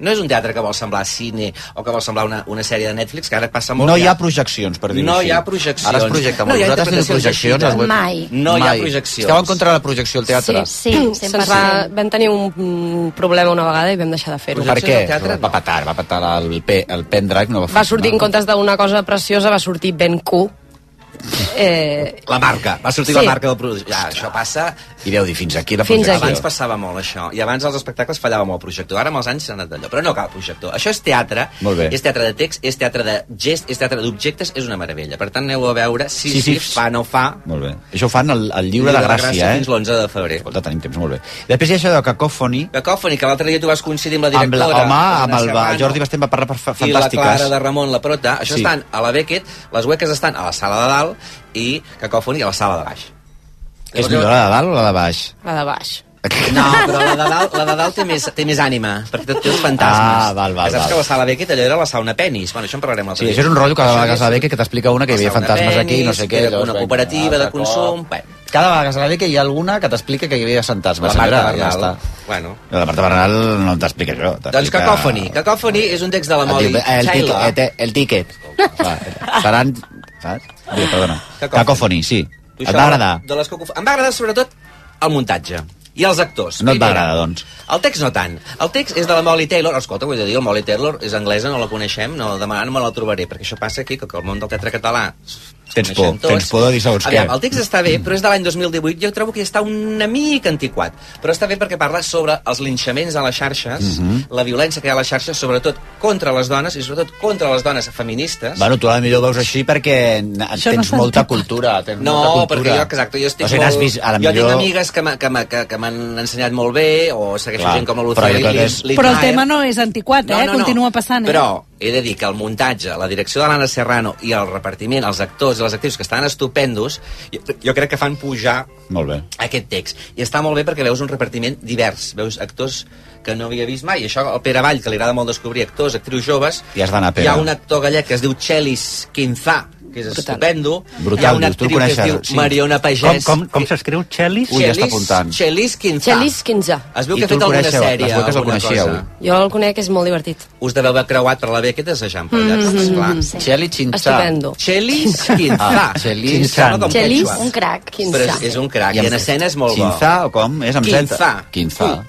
S14: No és un teatre que vol semblar cine o que vol semblar una, una sèrie de Netflix, que ara passa molt...
S5: No
S14: que
S5: hi ha projeccions, per dir-ho
S14: No
S5: així.
S14: hi ha projeccions.
S5: Ara es projecta molt.
S14: No hi ha
S5: Vosaltres teniu
S14: interpretacions
S5: projeccions?
S14: així de-
S5: Als
S17: Mai.
S5: web?
S14: No hi ha
S5: Mai.
S14: projeccions.
S5: Esteu en contra de la projecció al teatre?
S17: Eh, Sí, sí, 100%. Va, vam tenir un mm, problema una vegada i vam deixar de fer-ho.
S5: Per què? Va patar, va patar el, pe, el pendrive, no va
S17: Va sortir en comptes d'una cosa preciosa, va sortir ben cu. Eh,
S14: La marca. Va sortir
S17: Sí.
S14: la marca del producte. Ja, això passa...
S5: I deu dir, fins aquí la
S17: Fins
S5: projecció.
S17: aquí.
S14: Abans passava molt això, i abans els espectacles fallava molt el projector. Ara amb els anys s'ha anat d'allò, però no cal projector. Això és teatre,
S5: Molt bé.
S14: és teatre de text, és teatre de gest, és teatre d'objectes, és una meravella. Per tant, aneu a veure si,
S5: Sí,
S14: sí,
S5: sí.
S14: sí, fa, no fa...
S5: Molt bé. Això ho fan al, al llibre, de Gràcia, eh?
S14: Fins l'11 de febrer.
S5: Escolta, tenim temps, molt bé. Després hi ha això de cacòfoni,
S14: Cacòfoni, que l'altre dia tu vas coincidir amb la
S5: amb la,
S14: directora.
S5: home,
S14: Elena
S5: amb el
S14: Serrano,
S5: Jordi Bastem va parlar per fa,
S14: i la
S5: fantàstiques.
S14: Clara de Ramon, la prota, això sí.
S5: Sí.
S14: estan a la Beckett, les hueques estan a la sala de dalt i Cacòfoni a la sala de baix.
S5: És millor la de dalt o la de baix?
S17: la de baix.
S14: No, però la de dalt, la de dalt té, més, té més ànima, perquè tot té els fantasmes.
S5: Ah, val, val,
S14: Que Saps
S5: val.
S14: que la sala Beckett allò era la sauna penis. Bueno, això en parlarem altre
S5: Sí,
S14: dia.
S5: això és un rotllo que a
S14: Això
S5: vegades
S14: és
S5: a la Beca que t'explica una que hi havia
S14: la sauna
S5: fantasmes aquí, no
S14: penis,
S5: sé què.
S14: que
S5: llavors ah,
S14: Una
S5: va
S14: cooperativa
S5: entrar,
S14: de consum...
S5: cop. Cada vegada que a la Beca hi ha alguna que t'explica que hi havia fantasmes.
S14: La Marta
S5: senyora, ja
S14: Bernal.
S5: està.
S14: Bueno.
S5: No, La Marta Bernal no t'explica això.
S14: Doncs Cacòfoni. Cacòfoni és un text de la
S5: El,
S14: Molly
S5: el, eh, el, ticket,
S14: Taylor.
S5: el, ti- el ticket. Va, Seran... Saps? Bé, perdona.
S14: Cacòfoni.
S5: Cacòfoni, sí.
S14: Tu
S5: Et
S14: això
S5: va agradar?
S14: De les Cacòfoni- Em va agradar sobretot el muntatge i els actors.
S5: No et va
S14: Primera,
S5: agradar, doncs.
S14: El text no tant. El text és de la Molly Taylor. Oh, Escolta, vull dir, la Molly Taylor és anglesa, no la coneixem, no, demà no me la trobaré, perquè això passa aquí, que el món del teatre català
S5: Tens por,
S14: coneixem tots.
S5: tens por de dir segons què.
S14: Aviam, el text està bé, però és de l'any 2018. Jo trobo que està una mica antiquat. Però està bé perquè parla sobre els linxaments a les xarxes,
S5: Mhm.
S14: la violència que hi ha a les xarxes, sobretot contra les dones, i sobretot contra les dones feministes.
S5: Bueno, tu a la millor ho veus així perquè n- tens molta cultura. Tens
S14: No,
S5: molta cultura.
S14: perquè jo, exacte, jo estic
S5: o sigui, n'has
S14: molt...
S5: Vist, a la
S14: jo
S5: millor...
S14: tinc amigues que m'ha- que m'ha- que- que m'han ensenyat molt bé, o segueixo
S5: Clar,
S14: gent com la
S5: però jo
S14: Lucía
S5: crec que
S14: Lit-
S5: és-
S14: Litmaer.
S15: Però el tema no és antiquat, eh?
S14: No, no, no.
S15: Continua passant, eh?
S14: Però he de dir que el muntatge, la direcció de l'Anna Serrano i el repartiment, els actors i les actrius que estan estupendos, jo, jo crec que fan pujar
S5: Molt bé.
S14: aquest text. I està molt bé perquè veus un repartiment divers, veus actors que no havia vist mai, i això al Pere Vall, que li agrada molt descobrir actors, actrius joves,
S5: I has d'anar, Pere.
S14: hi ha un actor gallec que es diu Chelis Quinzà, que és estupendo,
S5: Brutal,
S14: hi ha una
S5: dius, tu el
S14: actriu que es
S5: coneixes,
S14: diu
S5: sí.
S14: Mariona Pagès,
S12: Com, com, com s'escriu Chelis?
S14: Ui, ja està Chelis- apuntant. Chelis Quinzà.
S17: Xelis 15.
S14: Es veu
S12: I
S14: que ha
S12: tu el
S14: fet alguna
S12: coneixeu,
S14: sèrie,
S12: les boques el
S14: alguna
S12: coneixeu.
S14: cosa.
S17: Jo el conec, és molt divertit.
S14: Us deveu haver creuat per la Beckett assajant per allà,
S17: Mhm,
S14: mm -hmm.
S17: sí.
S14: clar.
S5: Cheli Chinchà.
S17: Estupendo.
S14: Cheli
S5: Ah,
S14: Quinzà.
S5: Chelis-
S14: Quinzà, no com
S17: Xelis,
S14: quechua.
S17: un crac.
S14: Però és, és un crac, i en escena és molt bo.
S5: Quinzà, o com? És amb
S14: Quinzà.
S5: Z? Quinzà.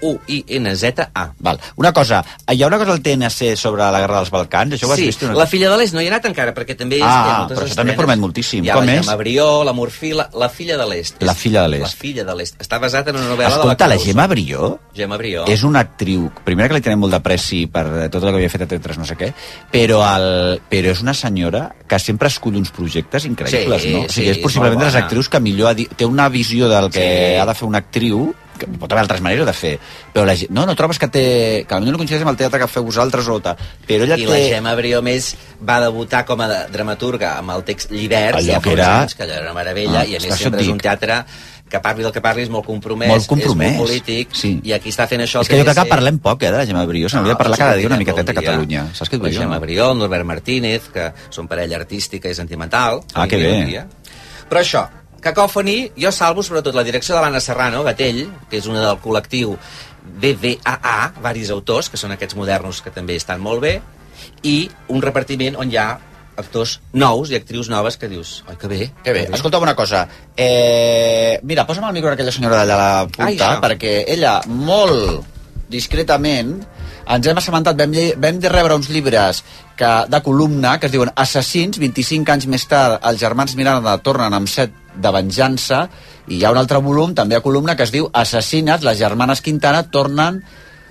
S14: U-I-N-Z-A.
S5: Val. Una cosa, hi ha una cosa al TNC sobre la Guerra dels Balcans? Això ho has
S14: sí,
S5: vist? Una...
S14: la filla de l'Est no hi ha anat encara, perquè també hi ha
S5: Ah,
S14: moltes
S5: però això també
S14: estrenes.
S5: promet moltíssim.
S14: Hi ha
S5: Com
S14: la
S5: és?
S14: Gemma Brió, la Morfila, la filla de l'Est.
S5: La filla de
S14: La
S5: l'Est.
S14: filla de l'Est. Està basat en una novel·la
S5: Escolta,
S14: de la
S5: la Gemma Brió
S14: Gemma Brió.
S5: és una actriu, primera que li tenim molt de pressi per eh, tot el que havia fet a Tetres, no sé què, però, el, però és una senyora que sempre escull uns projectes increïbles,
S14: Sí,
S5: no? O sigui,
S14: sí,
S5: és possiblement
S14: molt
S5: de les
S14: bona.
S5: actrius que millor ha di- té una visió del que
S14: Sí.
S5: ha de fer una actriu, que pot haver altres maneres de fer, però la, Ge- no, no trobes que té... que potser no coincideix amb el teatre que feu vosaltres o tal, però ella
S14: I
S5: té...
S14: la Gemma Brió més va debutar com a de- dramaturga amb el text Llibert,
S5: Allò
S14: ja
S5: que
S14: fa uns
S5: era-
S14: anys, que allò era una meravella,
S5: Ah,
S14: i a
S5: és que
S14: més
S5: això
S14: sempre
S5: et
S14: és un
S5: dic.
S14: teatre que parli del que parli, és molt compromès,
S5: Molt compromès,
S14: és molt polític,
S5: sí.
S14: i aquí està fent això... el
S5: és que jo crec que
S14: TNC.
S5: parlem poc, eh, de la Gemma Brió. Se n'hauria de parlar
S14: doncs
S5: cada
S14: en
S5: dia una
S14: parlarem
S5: miqueta a
S14: algun dia.
S5: Catalunya. Saps què et
S14: La
S5: vull dir?
S14: Gemma
S5: no?
S14: Brió, el Norbert Martínez, que són parella artística i sentimental.
S5: Ah, que
S14: Vinga,
S5: bé.
S14: bon dia. Però això, Cacòfoni, jo salvo sobretot la direcció de l'Anna Serrano, Gatell, que és una del col·lectiu BBAA, varis autors, que són aquests modernos que també estan molt bé, i un repartiment on hi ha actors nous i actrius noves que dius, oi, que bé.
S5: Que bé. Escolta'm una cosa. Eh, mira, posa'm el micro a aquella senyora d'allà a la punta,
S14: Ai,
S5: Ai,
S14: això.
S5: perquè ella, molt discretament, ens hem assabentat, vam, lle- vam de rebre uns llibres que, de columna que es diuen Assassins, 25 anys més tard els germans Miranda tornen amb set de venjança i hi ha un altre volum, també a columna, que es diu Assassines, les germanes Quintana tornen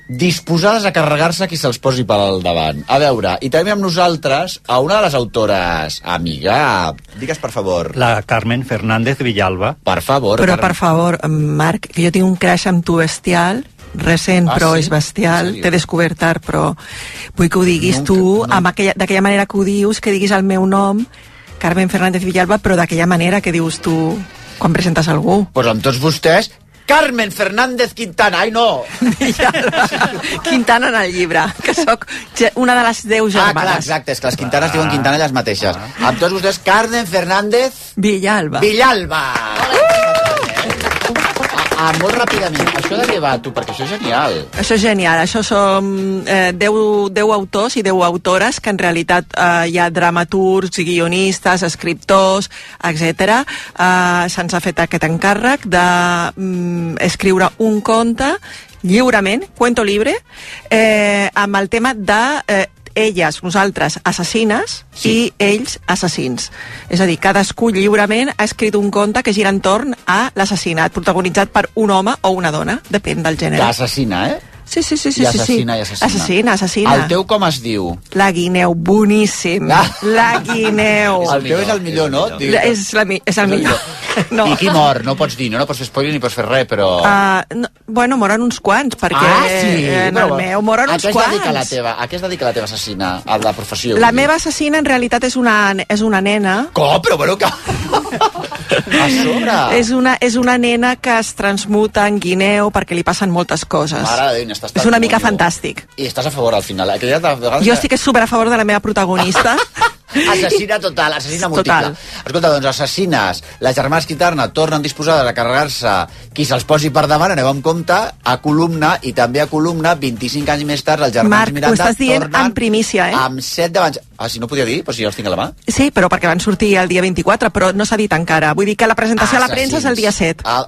S5: disposades a carregar-se qui se'ls posi pel davant. A veure, i també amb nosaltres a una de les autores, amiga, digues per favor.
S12: La Carmen Fernández Villalba.
S5: Per favor.
S1: Però,
S5: Carmen.
S1: per favor, Marc, que jo tinc un crash amb tu bestial, recent,
S5: Ah,
S1: però
S5: sí?
S1: és bestial,
S5: En sèrio?
S1: t'he descobert tard, però vull que ho diguis
S5: Nunca-
S1: tu, amb aquella, d'aquella manera que ho dius, que diguis el meu nom, Carmen Fernández Villalba, però d'aquella manera que dius tu quan presentes algú.
S5: Pues amb tots vostès, Carmen Fernández Quintana, ai no!
S1: Quintana en el llibre, que sóc ge- una de les deu
S5: Ah, clar,
S1: germanes.
S5: exacte, és que les Quintanes diuen
S1: Ah.
S5: Quintana elles mateixes. Amb tots vostès, Carmen Fernández...
S1: Villalba.
S5: Villalba! Ah, ah, molt ràpidament, això de què va, tu? Perquè això és genial.
S1: Això és genial, això som eh, 10, 10 autors i 10 autores que en realitat eh, hi ha dramaturgs, guionistes, escriptors, etc. Eh, Se'ns ha fet aquest encàrrec de mm, escriure un conte lliurement, cuento libre, eh, amb el tema de eh, elles, nosaltres, assassines sí. i ells, assassins. És a dir, cadascú lliurement ha escrit un conte que gira entorn a l'assassinat, protagonitzat per un home o una dona, depèn del gènere.
S5: Que assassina, eh?
S1: Sí, sí, sí, sí.
S5: I
S1: sí,
S5: assassina,
S1: sí.
S5: i assassina.
S1: Assassina, assassina.
S5: El teu com es diu?
S1: La guineu, boníssim.
S5: Ah.
S1: La guineu.
S5: El teu és el millor, no? Diu-
S1: La- És, la, mi- és el millor. No.
S5: I qui mor? No pots dir, no, no pots fer spoiler ni pots fer res, però...
S1: Uh, no, bueno, moren uns quants, perquè
S5: ah, sí.
S1: eh, en el
S5: Però
S1: meu moren
S5: a
S1: uns
S5: què es dedica la
S1: quants.
S5: teva? A què es dedica la teva assassina? A la professió?
S1: La
S5: vull dir.
S1: meva assassina en realitat és una, és una nena
S5: Com? Però bueno, que... a sobre!
S1: És una, és una nena que es transmuta en guineu perquè li passen moltes coses.
S5: Mare de Déu, n'estàs
S1: és
S5: tan
S1: una mica
S5: molt viu.
S1: fantàstic.
S5: I estàs a favor al final. Aquella de vegades...
S1: Jo estic super a favor de la meva protagonista.
S5: Assassina total, assassina múltiple.
S1: Total.
S5: Total. Escolta, doncs, assassines, les germanes Quitarna tornen disposades a carregar-se qui se'ls posi per davant, aneu amb compte, a columna, i també a columna, 25 anys més tard, els germans
S1: Marc, ho
S5: Miranda
S1: estàs dient
S5: tornen
S1: en primícia, eh?
S5: amb 7 d'abans... Ah, si no podia dir, però si jo els tinc a la mà.
S1: Sí, però perquè van sortir el dia 24, però no s'ha dit encara. Vull dir que la presentació a la premsa és el dia 7.
S5: Ah,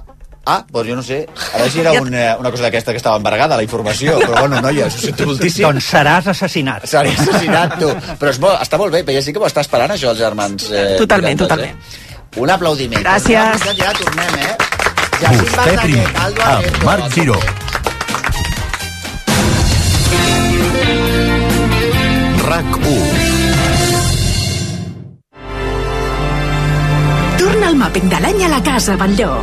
S5: ah, doncs jo no sé. Ara si era un, eh, una cosa d'aquesta que estava embargada, la informació, però bueno, noies, ho sento moltíssim.
S12: Doncs seràs assassinat.
S5: Seré assassinat, tu. Però és bo, està molt bé, però ja sí que m'ho està esperant, això, els germans... Eh,
S1: Totalment,
S5: totalment. Eh? Un aplaudiment.
S1: Gràcies.
S5: Ja tornem, eh?
S21: Vostè primer, amb Marc Giró. RAC 1.
S19: Torna el màping de l'any a la Casa Batlló.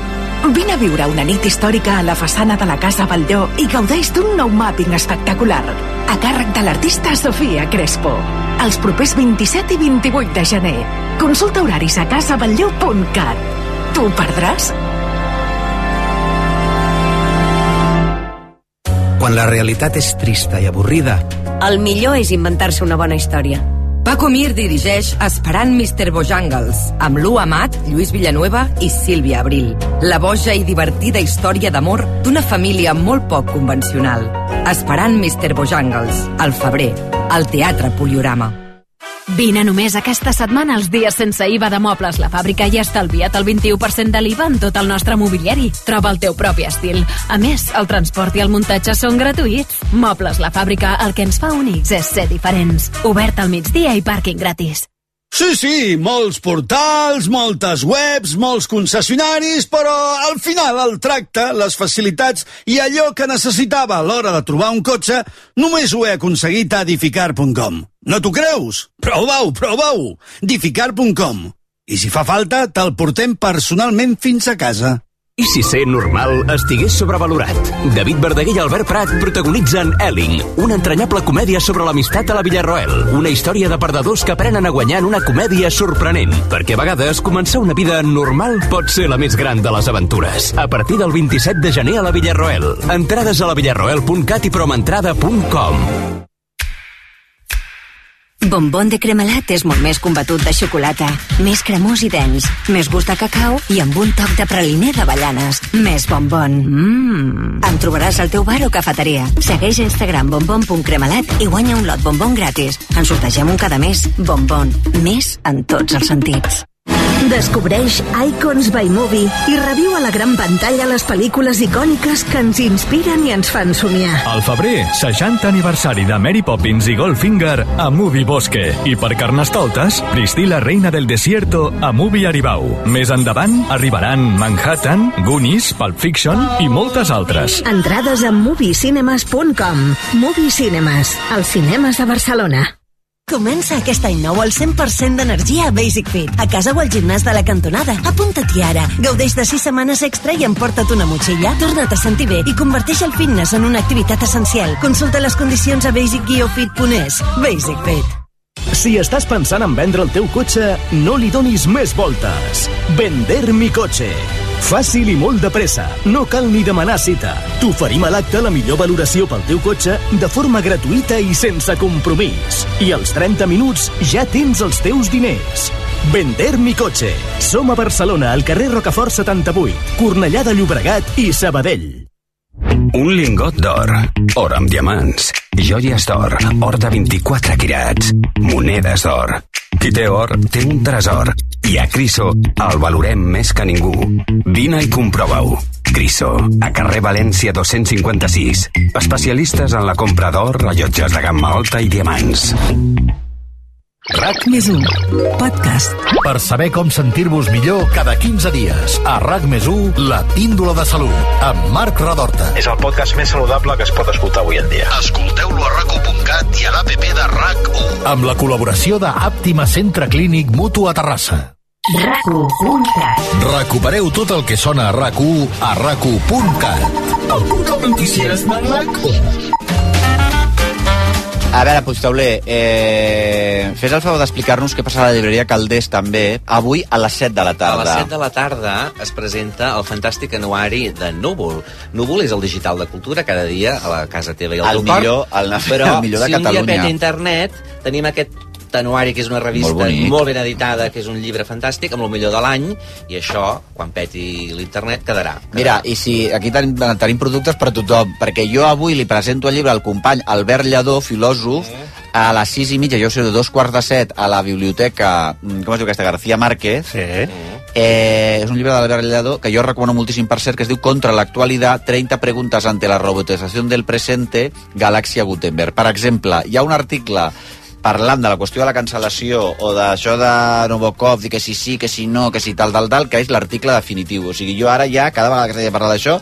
S19: Vine a viure una nit històrica a la façana de la Casa Batlló i gaudeix d'un nou màping espectacular a càrrec de l'artista Sofia Crespo. Els propers 27 i 28 de gener. Consulta horaris a casabatlló.cat. Tu ho perdràs?
S2: Quan la realitat és trista i avorrida,
S4: El millor és inventar-se una bona història.
S8: Paco Mir dirigeix Esperant Mr. Bojangles, amb Lu Amat, Lluís Villanueva i Sílvia Abril. La boja i divertida història d'amor d'una família molt poc convencional. Esperant Mr. Bojangles, al febrer, al Teatre Poliorama.
S9: Vine només aquesta setmana als dies sense IVA de Mobles La Fàbrica i estalvia't el 21% de l'IVA en tot el nostre mobiliari. Troba el teu propi estil. A més, el transport i el muntatge són gratuïts. Mobles La Fàbrica, el que ens fa únics és ser diferents. Obert al migdia i pàrquing gratis.
S26: Sí, sí, molts portals, moltes webs, molts concessionaris, però al final el tracte, les facilitats i allò que necessitava a l'hora de trobar un cotxe, només ho he aconseguit a edificar.com. No t'ho creus? Prova-ho, prova-ho! edificar.com. I si fa falta, te'l portem personalment fins a casa.
S20: I si ser normal estigués sobrevalorat? David Verdaguer i Albert Prat protagonitzen Elling, una entranyable comèdia sobre l'amistat a la Villarroel. Una història de perdedors que aprenen a guanyar en una comèdia sorprenent. Perquè a vegades començar una vida normal pot ser la més gran de les aventures. A partir del 27 de gener a la Villarroel. Entrades a la villarroel.cat i promentrada.com.
S27: Bombón de cremalat és molt més combatut de xocolata. Més cremós i dens. Més gust de cacau i amb un toc de praliner d'avellanes. Més bombón. Mmm. En trobaràs al teu bar o cafeteria. Segueix a Instagram bombón.cremalat i guanya un lot bombón gratis. En sortegem un cada mes. Bombón. Més en tots els sentits. Descobreix Icons by Movie i reviu a la gran pantalla les pel·lícules icòniques que ens inspiren i ens fan somiar.
S3: Al febrer, 60 aniversari de Mary Poppins i Goldfinger a Movie Bosque. I per Carnestoltes, Priscila, reina del desierto a Movie Aribau. Més endavant arribaran Manhattan, Goonies, Pulp Fiction i moltes altres.
S27: Entrades a moviecinemas.com. Movie Cinemas, els cinemes de Barcelona.
S19: Comença aquest any nou al 100% d'energia a Basic Fit. A casa o al gimnàs de la cantonada. Apunta-t'hi ara. Gaudeix de 6 setmanes extra i emporta't una motxilla. Torna't a sentir bé i converteix el fitness en una activitat essencial. Consulta les condicions a basic-fit.es. Basic Fit.
S28: Si estàs pensant en vendre el teu cotxe, no li donis més voltes. Vender mi cotxe. Fàcil i molt de pressa. No cal ni demanar cita. T'oferim a l'acte la millor valoració pel teu cotxe de forma gratuïta i sense compromís. I als 30 minuts ja tens els teus diners. Vender mi cotxe. Som a Barcelona, al carrer Rocafort 78, Cornellà de Llobregat i Sabadell.
S10: Un lingot d'or, or amb diamants, joies d'or, or de 24 quirats, monedes d'or. Qui té or té un tresor i a Criso el valorem més que ningú. Vine i comprova-ho. Criso, a carrer València 256. Especialistes en la compra d'or, rellotges de gamma alta i diamants.
S24: RAC més 1, podcast. Per saber com sentir-vos millor cada 15 dies. A RAC més 1, la píndola de salut, amb Marc Radorta.
S29: És el podcast més saludable que es pot escoltar avui en dia.
S11: Escolteu-lo a rac1.cat i a l'APP de RAC1.
S24: Amb la col·laboració de Àptima Centre Clínic Mutu a Terrassa.
S19: RAC1.cat
S24: Recupereu tot el que sona a RAC1 a rac1.cat.
S11: El punt entusiasme en RAC1.
S5: A veure, Puigtauler, eh, fes el favor d'explicar-nos què passa a la llibreria Caldés també avui a les 7 de la
S14: A
S5: tarda.
S14: les 7 de la tarda es presenta el fantàstic anuari de Núvol. Núvol és el digital de cultura cada dia a la casa teva i al
S5: El
S14: teu cor.
S5: millor- el-
S14: però
S5: el millor de
S14: si un
S5: Catalunya.
S14: dia peta internet tenim aquest anuari, que és una revista
S5: Molt bonic.
S14: molt, molt ben editada, que és un llibre fantàstic, amb el millor de l'any, i això, quan peti l'internet, quedarà.
S5: Mira, i si aquí ten, tenim productes per a tothom, perquè jo avui li presento el llibre al company Albert Lladó, filòsof, a les sis i mitja, jo sé, de dos quarts de set, a la biblioteca, mm, com es diu aquesta, García Márquez. Sí. Eh, és un llibre d'Albert Lladó que jo recomano moltíssim, per cert, que es diu Contra l'actualitat, 30 preguntes ante la robotizació del presente, Galàxia Gutenberg. Per exemple, hi ha un article parlant de la qüestió de la cancel·lació o d'això de Novokov, dir que si sí, que si no, que si tal, tal, tal, que és l'article definitiu. O sigui, jo ara ja, cada vegada que s'ha de parlar d'això,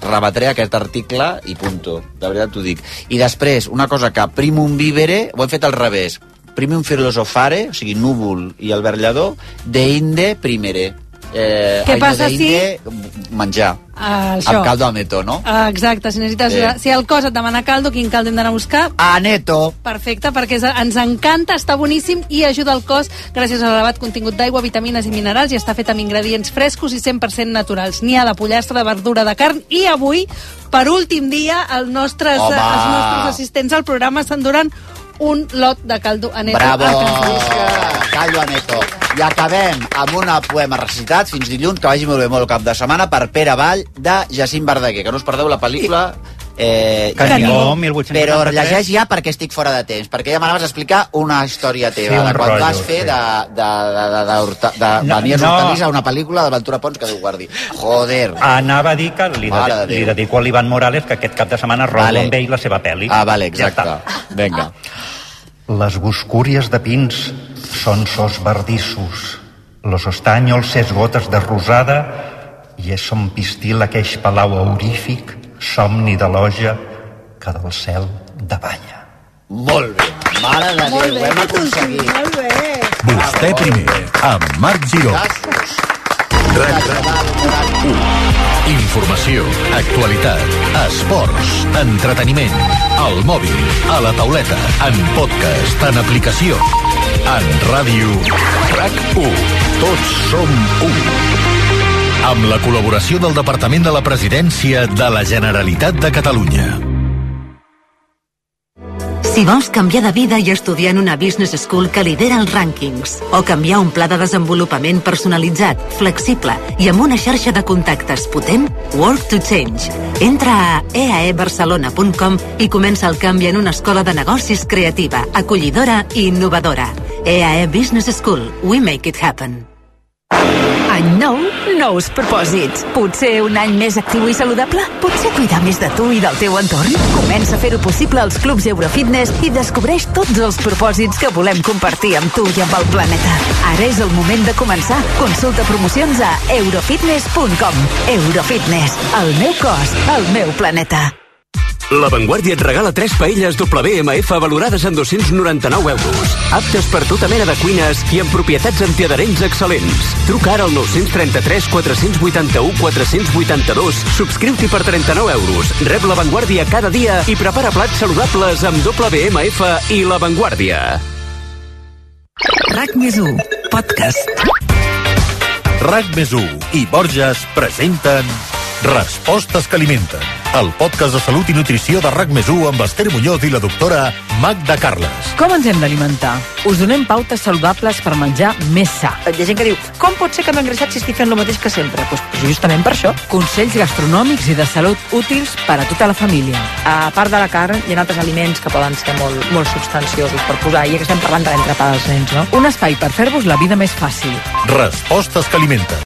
S5: rebatré aquest article i punto. De veritat t'ho dic. I després, una cosa que primum vivere, ho hem fet al revés. Primum filosofare, o sigui, núvol i el verllador, de inde primere. Eh,
S15: Què
S5: ai, no,
S15: passa
S5: de inde, Menjar.
S15: Ah,
S5: Amb
S15: això.
S5: caldo a neto, no?
S15: Ah, Exacte, si necessites...
S5: Sí.
S15: Si el cos et demana caldo, quin caldo hem d'anar a buscar?
S5: A neto.
S15: Perfecte, perquè és- ens encanta, està boníssim i ajuda el cos gràcies a l'elevat contingut d'aigua, vitamines i minerals i està fet amb ingredients frescos i 100% naturals. N'hi ha de pollastre, de verdura, de carn i avui, per últim dia, el nostres,
S5: Home!
S15: els nostres assistents al programa s'enduran un lot de caldo a neto.
S5: Bravo!
S15: a Cancún.
S5: Oh, Callo Aneto. I acabem amb una poema recitat fins dilluns, que vagi molt bé molt el cap de setmana, per Pere Vall, de Jacint Verdaguer. Que no us perdeu la pel·lícula... Eh,
S12: Canigó,
S5: però
S12: 1893.
S5: llegeix ja perquè estic fora de temps, perquè ja m'anaves a explicar una història teva,
S12: Sí, un
S5: de quan
S12: rotllo,
S5: vas fer
S12: sí.
S5: de, de, de, de, de, Horta- de
S12: No,
S5: no, Benies
S12: no.
S5: no. a una pel·lícula de Ventura Pons que Déu guardi. Joder.
S12: Anava a dir que li,
S5: Mare de
S12: de, li
S5: Déu.
S12: dedico a l'Ivan Morales que aquest cap de setmana robo
S5: Vale.
S12: vale. amb ell la seva pel·li.
S5: Ah, vale, exacte. Vinga.
S12: Les buscúries de pins són sos verdissos. Los ostaños ses gotes de rosada i és son pistil aqueix palau aurífic, somni de loja, que del cel davalla.
S5: Molt bé. Mare de Déu, ho hem aconseguit.
S15: Molt bé.
S24: Vostè primer, amb Marc Giró. RAC 1. Informació, actualitat, esports, entreteniment, al mòbil, a la tauleta, en podcast, en aplicació, en ràdio, RAC1. Tots som un. Amb la col·laboració del Departament de la Presidència de la Generalitat de Catalunya.
S19: Si vols canviar de vida i estudiar en una business school que lidera els rànquings, o canviar un pla de desenvolupament personalitzat, flexible i amb una xarxa de contactes potent, Work to Change. Entra a eaebarcelona.com i comença el canvi en una escola de negocis creativa, E acollidora i innovadora. EAE Business School. We make it happen. Any nou, nous propòsits. Potser un any més actiu i saludable? Potser cuidar més de tu i del teu entorn? Comença a fer-ho possible als clubs Eurofitness i descobreix tots els propòsits que volem compartir amb tu i amb el planeta. Ara és el moment de començar. Consulta promocions a eurofitness.com. Eurofitness, el meu cos, el meu planeta.
S20: La Vanguardia et regala 3 paelles WMF valorades en 299 euros, aptes per tota mena de cuines i amb propietats antiadherents excel·lents. Truca ara al 933 481 482, subscriu-t'hi per 39 euros, rep La Vanguardia cada dia i prepara plats saludables amb WMF i La Vanguardia.
S30: RAC més 1, podcast.
S24: RAC més 1 i Borges presenten Respostes que alimenten. El podcast de salut i nutrició de RAC més 1 amb Esther Muñoz i la doctora Magda Carles.
S31: Com ens hem d'alimentar? Us donem pautes saludables per menjar més sa. Hi ha gent que diu, com pot ser que m'he engreixat si estic fent el mateix que sempre? Doncs Pues, justament per això. Consells gastronòmics i de salut útils per a tota la família.
S18: A part de la carn, hi ha altres aliments que poden ser molt, molt substanciosos per posar, i ja que estem parlant de l'entrepà dels nens, no?
S31: Un espai per fer-vos la vida més fàcil.
S24: Respostes que alimenten.